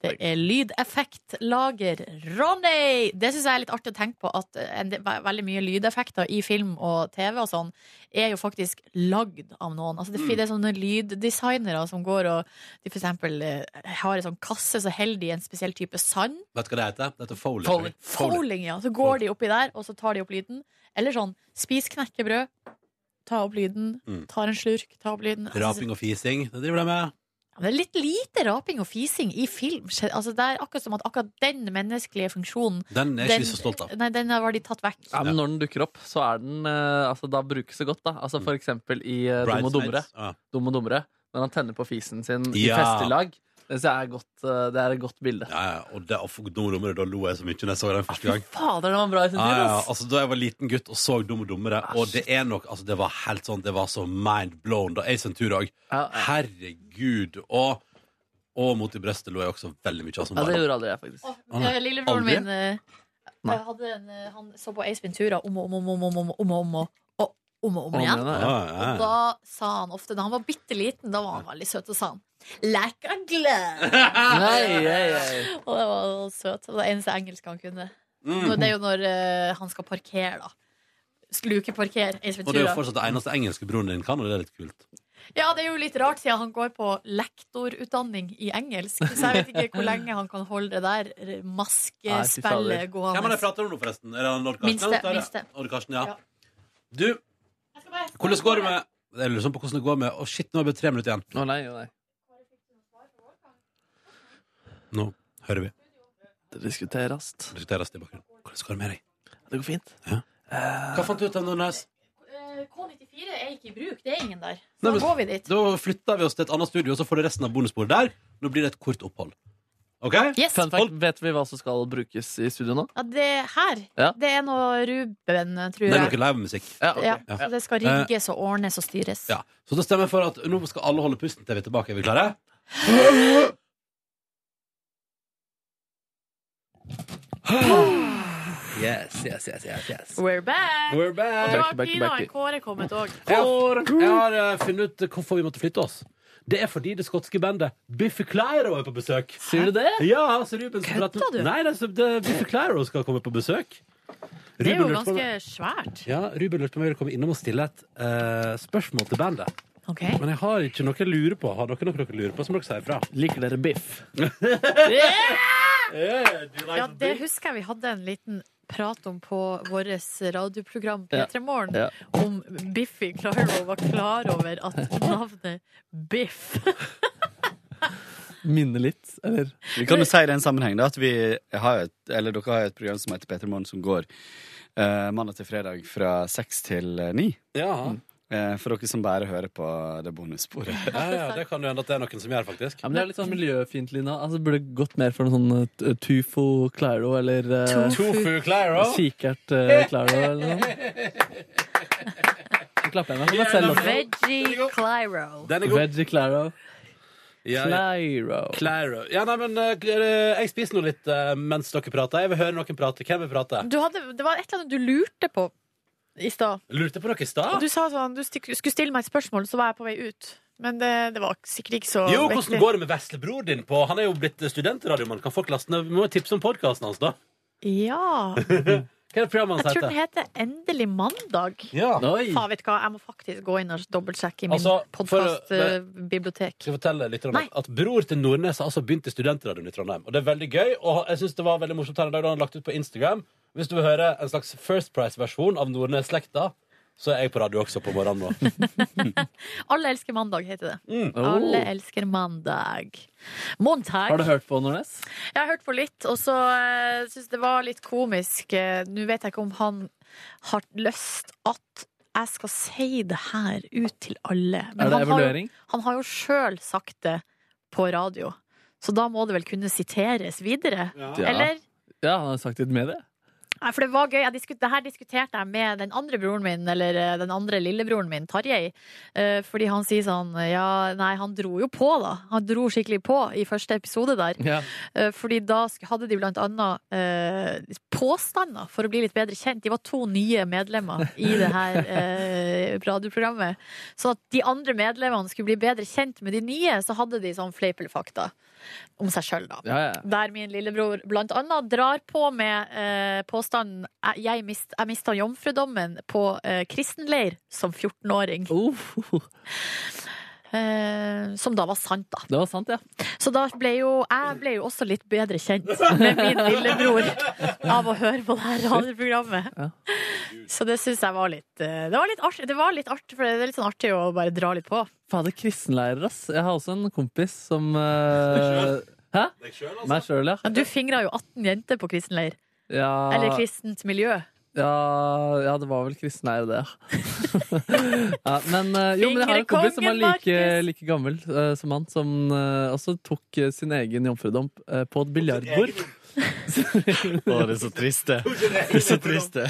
Det er lydeffektlager Ronny! Det syns jeg er litt artig å tenke på. At eh, en, del- ve- veldig mye lydeffekter i film og TV og sånn er jo faktisk lagd av noen. Altså det,
Mm.
det er sånne lyddesignere som går og de for eksempel eh, har en sånn kasse, så holder de en spesiell type sand.
Vet du hva det heter? Det heter Foley.
Foley.
Foling, ja. Så går de oppi der, og så tar de opp lyden. Eller sånn, spis knekkebrød, ta opp lyden,
Mm.
tar en slurk, ta opp lyden. Altså,
Raping og fising, det driver de med.
ja, Det er litt lite raping og fising i film. skje- Altså, det er akkurat som at akkurat den menneskelige funksjonen
Den er jeg
den-
ikke så stolt av.
Nei, den har de tatt vekk.
Ja, men når den dukker opp, så er den eh, Altså, da brukes det godt, da. Altså for eksempel i eh, Dum og dummere.
Mm. Bridesmaids. Ja.
Dum og dummere. Når han tenner på fisen sin
Ja.
i festelag. Det synes jeg er, godt, eh, det er et godt bilde.
Ja, ja, og det, og for Dum og dummere, da lo jeg så mye når jeg så den første gang.
Fader, den var bra i sin
Ja,
tid,
ja,
ass!
altså Da jeg var liten gutt og så Dum og dummere,
Ah,
og det er nok altså Det var helt sånn, det var så mind blown da Ace Ventura òg.
Ja, ja.
Herregud. Og, og Mot i brøstet lo jeg også veldig mye av som
Ja, det
barn.
gjorde aldri jeg, faktisk.
Å,
Å, nei.
eh, Lillebroren
Aldri?
min eh,
Nei.
jeg hadde en, eh, han så på Ace Ventura om og om og om og om og om og om og og om og om igjen.
Å, nei, nei.
Ja,
Og
ja.
da sa han ofte, da han var bitte liten, da var han veldig søt, og sa han Lack a glove.
Nei, ei, ei.
Og det var jo søt. Det var det eneste engelsk han kunne.
Mm.
Nå- Det er jo når eh, han skal parkere, da. Slukeparkere. Ace
Og det er jo
Ventura.
fortsatt det eneste engelske broren din kan, og det er litt kult.
Ja, det er jo litt rart, siden han går på lektorutdanning i engelsk. Så jeg vet ikke hvor lenge han kan holde det der eh,
Nei, fy fader.
maskespillet
Hvem er det
gående.
jeg prater om nå, forresten? Er det han Odd Karsten?
Minste,
eller?
minste.
Odd Karsten, ja.
Ja.
Du, hvordan går det med Jeg lurer sånn på hvordan det går med Å, shit, nå har det blitt tre minutter igjen.
Å, nei, å, nei.
Nå hører vi.
Det diskuteres.
Diskuteres det i bakgrunnen. Hvordan går det med deg?
Det går fint.
Hva fant du ut av Nordnes?
Eh, K94 er ikke i bruk, det er ingen der.
Nei,
Så
men-
da går vi dit.
Da flytter vi oss til et annet studio, og så får du resten av bonusbordet der. Nå blir det et kort opphold. OK?
Yes.
Fun fact, vet vi hva som skal brukes i studio nå?
Ja, det her,
Ja.
det er noe Ruben,
Det
tror
er noe
jeg.
livemusikk.
Ja, ok.
Ja,
Ja. Eh.
så det skal rigges og ordnes og styres.
Ja. Så da stemmer jeg for at nå skal alle holde pusten til vi er tilbake. Er vi klare? Yes, yes, yes, yes, yes.
We're back!
We're
Og så
back.
har
back,
Pina
back.
og Kåre kommet òg.
Jeg har, jeg har eh, funnet ut hvorfor vi måtte flytte oss. Det er fordi det skotske bandet Biffy Clyro er på besøk.
Sier du det?
Ja, så Ruben skal prate
Kødda du?
Nei, det, er så- det, Biffy Clyro skal komme på besøk.
Det er jo
Ruben lurte på om-
ganske svært.
Ja, Ruben lurte på om jeg ville komme innom og stille et eh, spørsmål til bandet.
Ok.
Men jeg har ikke noe jeg lurer på. Har dere noe dere lurer på, så må dere si ifra.
Liker dere biff?
Ja, det husker jeg vi hadde en liten prat om på vårt radioprogram P3 Morgen.
Ja.
Om Biffy Clyro var klar over at navnet Biff
Minner litt, eller?
Vi kan jo si i den sammenheng da, at vi har jo et, eller dere har jo et program som heter Peter Morgen, som går eh, mandag til fredag fra seks til eh, ni.
Ja,
Eh, for dere som bare hører på det bonussporet.
ja, ja, det kan jo hende at det er noen som gjør, faktisk.
Ja, men Det er litt sånn miljøfiendtlig nå. Altså, det burde gått mer for noe sånn eh, Tufo Claro eller eh,
Tofu Clyro.
Kikert eh, Claro eller noe. Så klapper jeg meg for meg selv også.
Veggie Clyro.
Den er god.
Veggie Claro.
Ja, ja.
Claro.
Clyro. Ja, nei, men eh, jeg spiser nå litt eh, mens dere prater. Jeg vil høre noen prate. Hvem vil prate?
Du hadde, det var et eller annet du lurte på i stad.
Lurte på noe i
Og
stad?
Du sa sånn, du stik- skulle stille meg et spørsmål, så var jeg på vei ut. Men det, det var sikkert ikke så
Jo,
viktig.
hvordan går det med veslebroren din på Han er jo blitt studentradiomann. Kan folk laste ned Vi må jo tipse om podkasten hans, da.
Ja.
Hva er det programmet
Jeg
hans
tror den
heter?
heter Endelig mandag.
Ja.
Oi!
Faen, vet du hva, jeg må faktisk gå inn og dobbeltsjekke i min eh,
Altså, for å-
podcastbibliotek.
Skal jeg fortelle litt om
Nei.
at, at Bror til Nordnes har altså begynt i studentradioen i Trondheim. Og det er veldig gøy, og jeg synes det var veldig morsomt her en dag da han lagt ut på Instagram. Hvis du vil høre en slags First Price-versjon av Nordnes-slekta, så er jeg på radio også på morgenen nå.
Alle elsker mandag, heter det.
Oh.
Alle elsker mandag. Montag.
Har du hørt på Nornes?
Jeg har hørt på litt, og så uh, syns det var litt komisk. Eh, Nå vet jeg ikke om han har lyst at jeg skal si det her ut til alle. Men
Er det
han
evaluering?
Har jo, han har jo sjøl sagt det på radio, så da må det vel kunne siteres videre? Eller?
Ja, han har sagt litt med det.
Nei, for det var gøy. Jeg diskut, det her diskuterte jeg med den andre broren min, eller eh, den andre lillebroren min, Tarjei. Eh, fordi han sier sånn Ja, nei, han dro jo på, da. Han dro skikkelig på i første episode der.
Ja.
Eh, Fordi da sk- hadde de blant annet eh, påstander for å bli litt bedre kjent. De var to nye medlemmer i det her eh, radioprogrammet. Så at de andre medlemmene skulle bli bedre kjent med de nye, så hadde de sånn fleip eller fakta om seg sjøl, da.
Ja, ja.
Der min lillebror blant annet drar på med eh, påstanden «Jeg- jeg, mist, 'Jeg mista jomfrudommen på eh, kristenleir som 14-åring'.
Oh,
Eh, som da var sant, da.
det var sant, ja.
Så da ble jo jeg ble jo også litt bedre kjent med min lillebror av å høre på det her radioprogrammet. Så det syns jeg var litt eh, Det var litt artig, det var litt artig for det er litt sånn artig å bare dra litt på.
Fader, kristenleirer, ass. Jeg har også en kompis som eh, Hæ?
Deg selv, altså.
Meg sjøl, ja.
Men du fingra jo 18 jenter på kristen leir.
Ja,
Eller kristent miljø.
ja, ja, det var vel kristenleirer, det, ja. ja. Men, eh, jo, men jeg har en kompis som var like,
Fingrekongen, Markus.
like gammel eh, som han, som eh, også tok eh, sin egen jomfrudomp eh, på et biljardbord.
Å, det er så trist, det. Det er så trist, det.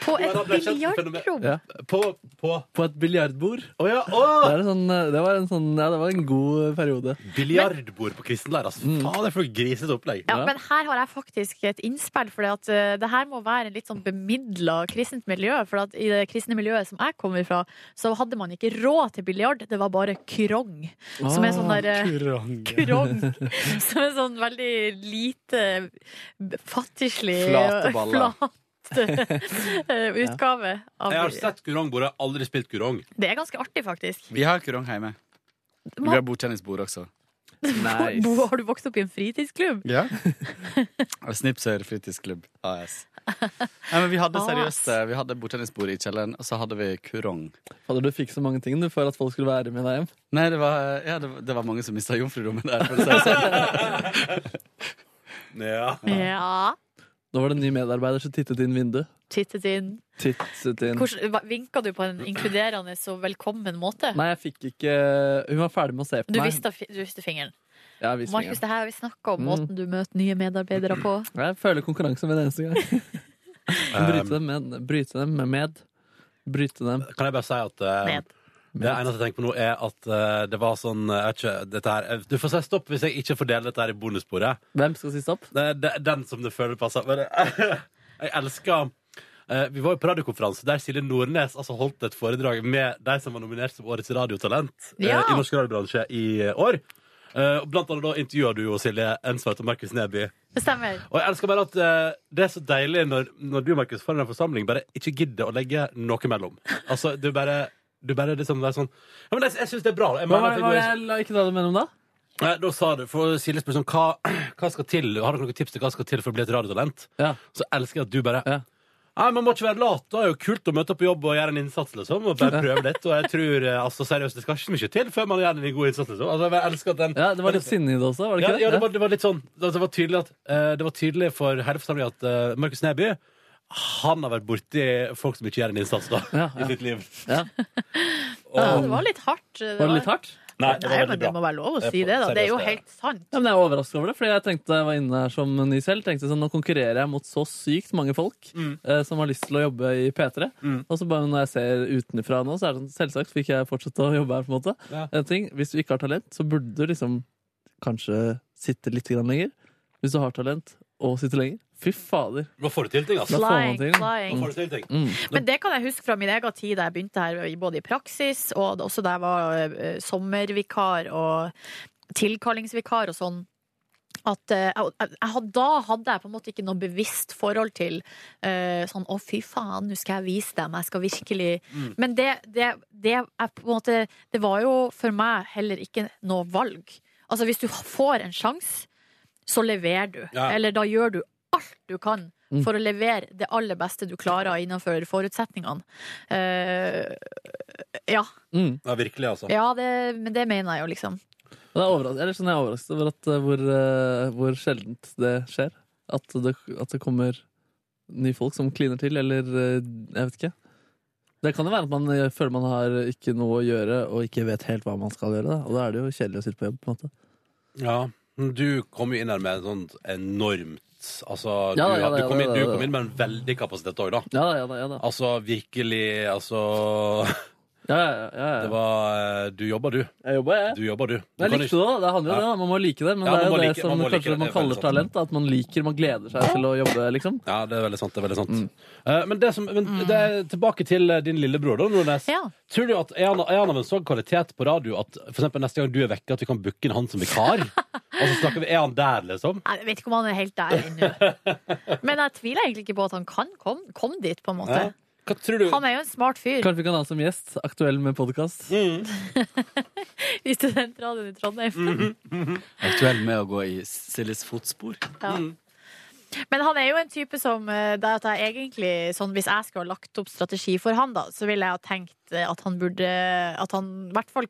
På et
da ble jeg kjent med fenomen-
biljardrom.
Ja.
På, på
På et biljardbord.
Å ja!
Det,
Å!
er en sånn, eh, det var en sånn Ja, det var en god eh, periode.
Biljardbord på kristenleir, altså. Faen, det er for et grisete opplegg.
Ja,
Ja.
men her har jeg faktisk et innspill, for at, eh, det her må være en litt sånn bemidla kristent miljø. For at i det kristne miljøet som jeg kommer fra, så hadde man ikke råd til biljard, det var bare krong. Som er sånn der eh, Krong. Som en sånn veldig lite b- fattigslig
Flate
eh,
baller.
flat, eh, utgave. Av,
Jeg har sett kurongbordet, jeg har aldri spilt kurong.
det er ganske artig, faktisk.
Vi har kurong hjemme. Vi har bordtennisbord også.
Bo,
Nice.
har du vokst opp i en fritidsklubb?
Ja. Og Snipser fritidsklubb AS. Nei, men vi hadde seriøst eh, Vi hadde bordtennisbord i kjelleren, og så hadde vi kurong.
Fader, du fikk så mange ting du for at folk skulle være med deg hjem.
Nei, det var, ja, det, var- det var mange som mista jomfrudommen der. For å si det sånn.
Ja.
Ja.
Nå var det en ny medarbeider som tittet inn vinduet.
Tittet inn.
Tittet inn.
Hvordan- hva- Vinka du på en inkluderende og velkommen måte?
Nei, jeg fikk ikke Hun var ferdig med å se på
Du
meg.
visste, fi- du visste fingeren.
Ja, jeg, visste
Markus,
fingeren.
det her har vi snakka om,
Mm.
måten du møter nye medarbeidere på.
jeg føler konkurranse med det eneste gang. bryte dem med. Bryte dem med. med. Bryte dem.
Kan jeg bare si at eh,
Ned.
Det eneste jeg tenker på nå, er at eh, det var sånn eh, jeg vet ikke, dette her, eh, Du får si stopp hvis jeg ikke får dele dette her i bonussporet.
Hvem skal si stopp?
Det er de- den som det føler passer. Men, eh, Jeg elsker eh, Vi var jo på radiokonferanse der Silje Nordnes altså, holdt et foredrag med de som var nominert som årets radiotalent eh,
Ja.
i norsk radiobransje i eh, år. Eh, og blant annet da intervjuet du jo Silje Ensveit og Markus Neby.
Det stemmer.
Og jeg elsker bare at eh, det er så deilig når, når du, Markus, foran en forsamling bare ikke gidder å legge noe mellom. Altså, du bare du bare liksom, det er sånn Ja, men jeg, jeg syns det er bra. Jeg
Hva
mener
var
at
det
det går-
jeg la ikke ta det mellom da?
Nei, da sa du, for Silje spør sånn, hva, hva skal til, har dere noen tips til hva skal til for å bli et radiotalent? Så elsker jeg at du bare, nei, man må ikke være lat, det er jo kult å møte opp på jobb og gjøre en innsats, liksom, og bare prøve litt, og jeg tror, eh, altså, seriøst, det skal ikke så mye til før man gjør en god innsats, liksom. Altså, jeg elsker at den...
Ja, Det var litt sinne i det også, var det
ja,
ikke det?
ja, det, var, det var litt sånn, altså, det var tydelig at, eh, det var tydelig for hele forsamlingen at eh, Markus Neby, han har vært borti folk som ikke gjør en innsats da, i sitt liv.
Ja, det var litt hardt. Det
Var det litt hardt?
Nei,
Nei, men det må være lov å si det, da. Det er jo helt sant.
Ja, men Jeg er overraska over det, fordi jeg tenkte jeg var inne her som ny selv. tenkte sånn, Nå konkurrerer jeg mot så sykt mange folk eh, som har lyst til å jobbe i P3. Og så bare når jeg ser utenfra nå, så er det sånn selvsagt fikk jeg fortsette å jobbe her. på en måte.
Ja.
En ting, Hvis du ikke har talent, så burde du liksom kanskje sitte litt grann lenger. Hvis du har talent og sitter lenger. Fy fader.
Nå får du til ting, altså.
Da får man
Flying,
til.
flying.
Mm.
Nå får du til
ting.
Mm.
Men det kan jeg huske fra min egen tid da jeg begynte her, i- både i praksis og da- også da jeg var eh, sommervikar og tilkallingsvikar og sånn. At eh, jeg, jeg, had- da hadde jeg på en måte ikke noe bevisst forhold til eh, sånn å, fy faen, nå skal jeg vise dem, jeg skal virkelig
Mm.
Men det, det, det, er på en måte, det var jo for meg heller ikke noe valg. Altså, hvis du får en sjanse, så leverer du.
Ja.
Eller da gjør du alt du kan
Mm.
for å levere det aller beste du klarer innenfor forutsetningene. Eh, ja.
Mm.
Ja, virkelig, altså.
ja det, men det mener jeg jo, liksom.
Og det er overras- eller sånn, jeg er overrasket over at, eh, hvor, eh, hvor sjeldent det skjer. At det, at det kommer nye folk som kliner til, eller eh, jeg vet ikke. Det kan jo være at man eh, føler man har ikke noe å gjøre, og ikke vet helt hva man skal gjøre. Da. Og da er det jo kjedelig å sitte på jobb. på en måte.
Ja, men du kom jo inn her med en sånn enormt Altså,
Ja da,
du,
ja da,
du,
ja
kom
da,
inn,
ja
du
da.
kom inn med en veldig kapasitet òg, da.
Ja da, ja da, ja da.
Altså virkelig, altså
Ja, ja, ja, ja.
Det var eh, Du jobba, du.
Jeg jobba, jeg.
Du jobba, du. Du
Men jeg
kan
likte
ikke-
det, da. Det handler jo om
Ja.
det. da. Man må like det. Men
Ja,
det
man
er jo
må
det
like-
som
man må like det,
kanskje
det
man
er veldig
kaller
sant.
talent. da. At man liker, man gleder seg til å jobbe, liksom.
Ja, det er veldig sant. det er veldig sant
Mm.
Eh, Men, det som, men det er tilbake til eh, din lillebror, da, Nordnes. Tror du at er han, er han av en sånn kvalitet på radio at for eksempel neste gang du er vekke, at vi kan booke inn han som vikar? Og så snakker vi Er han der, liksom?
Jeg vet ikke om han er helt der ennå. Men jeg tviler egentlig ikke på at han kan komme kom dit, på en måte.
Ja.
Hva tror du?
Han er jo en smart fyr
Kanskje vi kan ha han som gjest. Aktuell med podkast.
Mm.
i studentradioen i Trondheim.
Aktuell med å gå i Siljes fotspor.
Ja. Men han er jo en type som eh, det at jeg egentlig, sånn, Hvis jeg skulle ha lagt opp strategi for han, da, så ville jeg ha tenkt eh, at han burde At han i hvert fall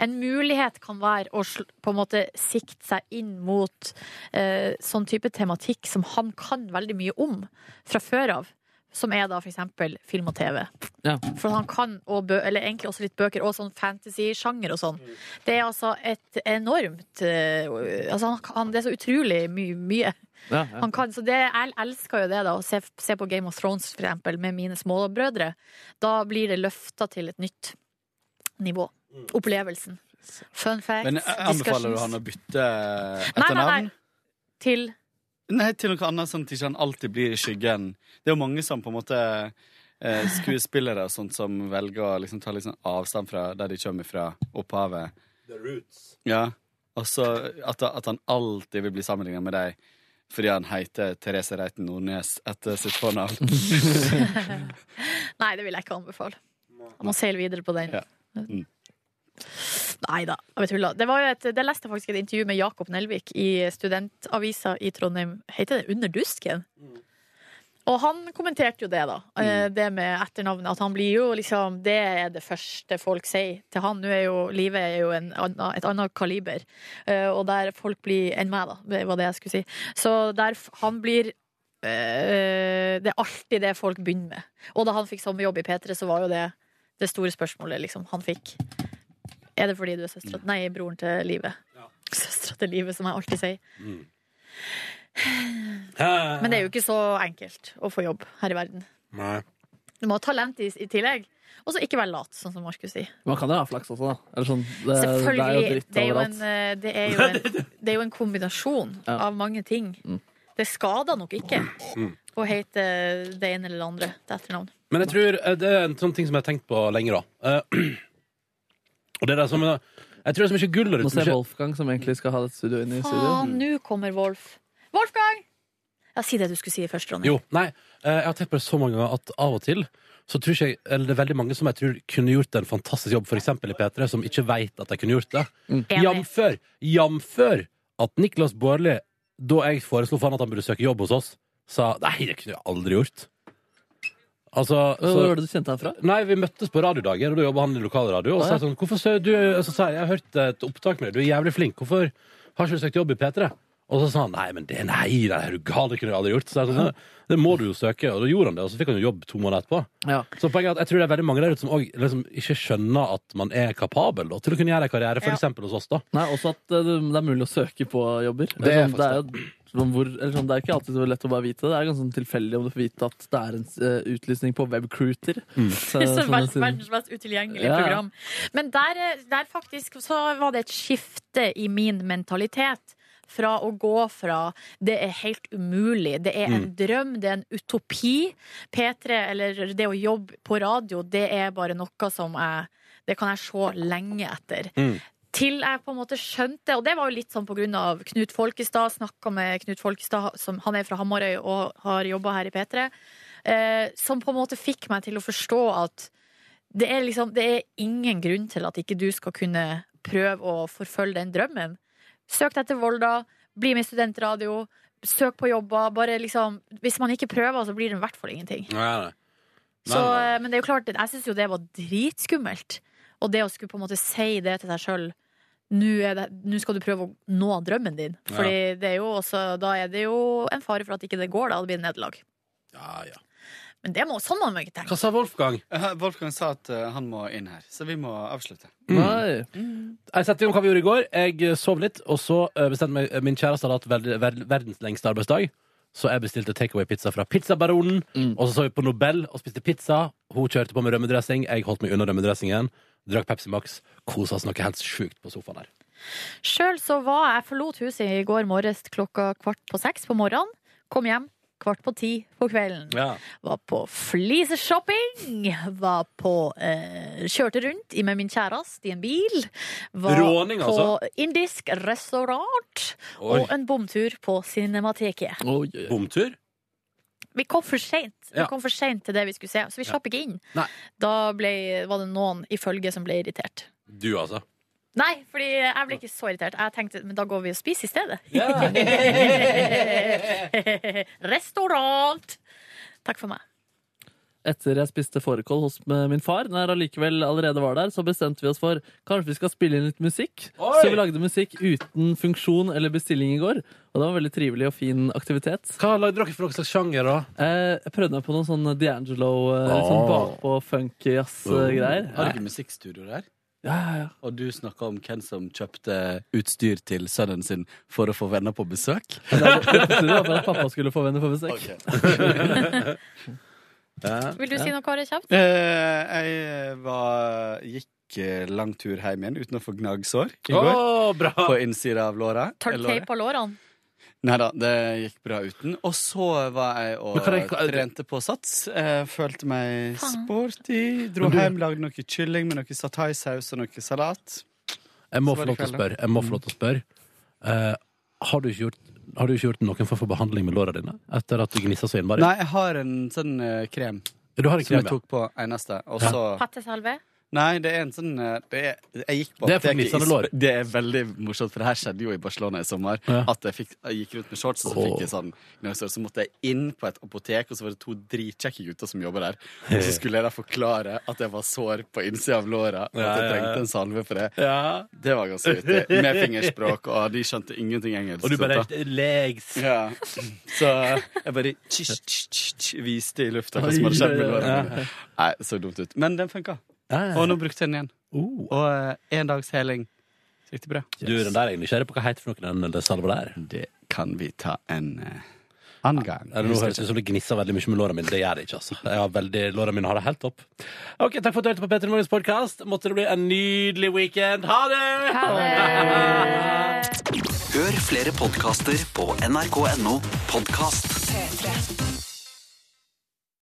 En mulighet kan være å sl- på en måte sikte seg inn mot eh, sånn type tematikk som han kan veldig mye om fra før av. Som er da for eksempel film og TV.
Ja.
For han kan, og bø eller egentlig også litt bøker, og sånn fantasy-sjanger og sånn. Det er altså et enormt eh, altså han, han, Det er så utrolig my mye.
Ja, ja.
Han kan, så det, jeg elsker jo det, da, å se, se på Game of Thrones for eksempel, med mine småbrødre. Da blir det løfta til et nytt nivå. Opplevelsen. Fun facts,
Men jeg anbefaler du
discussions.
han å bytte
Nei, nei,
etternavn?
nei. Til
Nei, til noe annet, sånn at ikke han alltid blir i skyggen. Det er jo mange som på en måte eh, Skuespillere og sånt som velger å liksom, ta litt sånn avstand fra der de kommer fra, opphavet.
The Roots.
Ja. Og så at, at han alltid vil bli sammenligna med deg fordi han heter Therese Reiten Nordnes etter sitt fornavn.
Nei, det vil jeg ikke anbefale. Jeg må seile videre på den. Nei da, jeg tuller. Det, var jo et, det leste jeg faktisk et intervju med Jakob Nelvik i Studentavisa i Trondheim. Heter det Under dusken? Og han kommenterte jo det, da. eh, Det med etternavnet. At han blir jo liksom Det er det første folk sier til han. Nå er jo livet er jo en, anna- et annet kaliber. Eh, Og der folk blir enn meg, da. Det var det jeg skulle si. Så der f- han blir eh, Det er alltid det folk begynner med. Og da han fikk sommerjobb i P3, så var jo det det store spørsmålet liksom, han fikk. Er det fordi du er søstera Nei, broren til livet. Søstera til livet, som jeg alltid sier. Men det er jo ikke så enkelt å få jobb her i verden.
Nei.
Du må ha talent i, i tillegg. Og så ikke være lat, sånn som Markus sier.
Man kan jo ha flaks også, da. Eller sånn, det, det er jo
Selvfølgelig.
dritt
Det er jo en,
overalt.
eh, det er jo en, det er jo en kombinasjon
Ja. Mm.
av mange ting. Det skader nok ikke. og heter det ene eller det andre til etternavn.
Men jeg tror eh, det er en sånn ting som jeg har tenkt på lenge, da. Eh, og det er det som eh, Jeg tror det er så mye gull der
Nå
ute.
ser
mye-
Wolfgang, som egentlig skal ha et studio inne i studio.
Faen, Ah, nå kommer Wolf. Wolfgang! Ja, Si det du skulle si først, Ronny.
Jo, nei, eh, jeg har tenkt på det så mange ganger at av og til så tror ikke jeg, eller det er veldig mange som jeg tror kunne gjort en fantastisk jobb, f.eks. i P3, som ikke veit at de kunne gjort det.
Enig.
Jamfør, jamfør at Niklas Baarli, da jeg foreslo for han at han burde søke jobb hos oss, sa nei, det kunne jeg aldri gjort. Altså,
Hvor var det du kjente han fra?
Nei, vi møttes på radiodager, og da jobba han i lokalradio. Og så
Ah, ja.
sa jeg sånn, hvorfor sø- du, så sa jeg, jeg har hørt et opptak med deg, du er jævlig flink, hvorfor har ikke du søkt jobb i P3? Og så sa han nei, men det nei, nei, er du gal, det kunne jeg aldri gjort. Så jeg sånn, «Nei, det må du jo søke, og da gjorde han det, og så fikk han jo jobb to måneder etterpå.
Ja.
Så poenget er at jeg tror det er veldig mange der ute som også, liksom, ikke skjønner at man er kapabel da, til å kunne gjøre en karriere, for eksempel hos oss da.
Nei, også at eh, det det er mulig å søke på jobber.
Det er
sånn, det er jo sånn hvor, eller sånn, det er ikke alltid så lett å bare vite det. Det er ganske sånn tilfeldig om du får vite at det er en eh, utlysning på Webcruiter. Så-
Det er
sånn
verdens,
siden-
verdens mest utilgjengelige
Ja, ja.
program. Men der, eh, der faktisk så var det et skifte i min mentalitet. Fra å gå fra 'det er helt umulig', 'det er en drøm', 'det er en utopi'. P3, eller det å jobbe på radio, det er bare noe som jeg Det kan jeg se lenge etter.
Mm.
Til jeg på en måte skjønte, og det var jo litt sånn på grunn av Knut Folkestad, snakka med Knut Folkestad, som, han er fra Hamarøy og har jobba her i P3, eh, som på en måte fikk meg til å forstå at det er liksom Det er ingen grunn til at ikke du skal kunne prøve å forfølge den drømmen. Søk deg til Volda, bli med i studentradio, søk på jobber, bare liksom Hvis man ikke prøver, så blir det i hvert fall ingenting.
Nei, nei.
Så, eh, men det er jo klart, jeg syns jo det var dritskummelt. Og det å skulle på en måte si det til seg sjøl nå er det- nå skal du prøve å nå drømmen din.
Ja.
Fordi det er jo også, da er det jo en fare for at ikke det går. Da det blir det nederlag.
Ja, ja.
Men det må, sånn må man jo ikke tenke.
Hva sa Wolfgang?
Eh, Wolfgang sa at eh, han må inn her, så vi må avslutte.
Nei.
Jeg setter i gang hva vi gjorde i går. Jeg eh, sov litt, og så eh, bestemte meg Min kjæreste hadde hatt veld- verd- verdens lengste arbeidsdag. Så jeg bestilte takeaway-pizza fra Pizzabaronen. Og så så vi på Nobel og spiste pizza. Hun kjørte på med rømmedressing. Jeg holdt meg unna rømmedressingen. Drakk Pepsi Max. Kosa oss noe helt sjukt på sofaen her.
Sjøl så var jeg forlot huset i går morges klokka kvart på seks på morgenen. Kom hjem kvart på ti på kvelden. Var på fliseshopping. Var på eh, Kjørte rundt i- med min kjæreste i en bil. Var
Råning, altså?
på indisk restaurant.
Oi.
Og en bomtur på Cinemateket.
Oi, oi, oi.
Bomtur?
Vi kom for seint Vi
Ja.
kom for sent til det vi skulle se, så vi slapp ikke inn.
Nei.
Da ble, var det noen i følget som ble irritert.
Du, altså.
Nei, fordi jeg ble ikke så irritert. Jeg tenkte, men da går vi og spiser i stedet. Restaurant! Takk for meg.
Etter jeg spiste fårikål hos eh, min far, når jeg allikevel allerede var der, så bestemte vi oss for kanskje vi skal spille inn litt musikk.
Oi!
Så vi lagde musikk uten funksjon eller bestilling i går, og det var en veldig trivelig og fin aktivitet.
Hva lagde dere for noen slags sjanger, da?
Eh, Jeg prøvde meg på noen sånn D'Angelo, eh, litt sånn
Ah.
bakpå funk-jazz-greier.
Har du ikke musikkstudio der?
Ja, ja, ja.
Og du snakka om hvem som kjøpte utstyr til sønnen sin for å få venner på besøk?
Det var for at pappa skulle få venner på besøk.
Vil du si noe, Kåre? Kjapt?
Eh, jeg var, gikk eh, lang tur hjem igjen uten å få gnagsår i
Å,
går.
bra!
På innsida av låra.
Tørrteip av lårene.
Nei da, det gikk bra uten. Og så var jeg og
Men kan jeg-
trente på sats. Eh, følte meg
Faen.
sporty. Dro hjem, lagde noe kylling med noe sataisaus og noe salat.
Jeg må
Så var
få lov
det
til å
kveld, da.
spørre. Jeg må få lov til å spørre. Eh, har, du ikke gjort, har du ikke gjort noen form for behandling med låra dine etter at du gnissa så innmari?
Nei, jeg har en sånn eh, krem
Du har en
som
krem,
jeg
ja.
tok på eneste, og så
Pattesalve.
Nei, det er en sånn eh, det er, Jeg gikk på
Det er for
apoteket i
gnissende
Sp-
lår.
Det er veldig morsomt, for det her skjedde jo i Barcelona i sommer.
Ja.
At jeg, fikk, jeg gikk rundt med shorts, og så fikk jeg sånn gnagsår. Så måtte jeg inn på et apotek, og så var det to dritkjekke gutter som jobber der. Og så skulle jeg da forklare at jeg var sår på innsida av låra, og at jeg trengte en salve for det. Det var ganske vittig. Med fingerspråk, og de skjønte ingenting engelsk.
Og du bare
sant da?
legs.
ja. Så jeg bare tsch, tsch, tsch, tsch, viste i lufta hva som hadde skjedd med låra. mine. Nei, så dumt ut. Men den funka. Og nå brukte jeg den igjen.
Oh.
Og eh, en dags heling. Så gikk det bra.
Du, den der er jeg nysgjerrig på hva heter for noen den eller salva der.
Det kan vi ta en eh, annen gang.
Eller nå høres det ut som det gnisser veldig mye med låra mine. Det gjør det ikke, altså. Jeg har veldig, låra mine har det helt topp. Ok, Takk for at du hørte på Petter Morgens podkast. Måtte det bli en nydelig weekend. Ha det!
Ha det!
Hør flere podkaster på nrk.no podkast.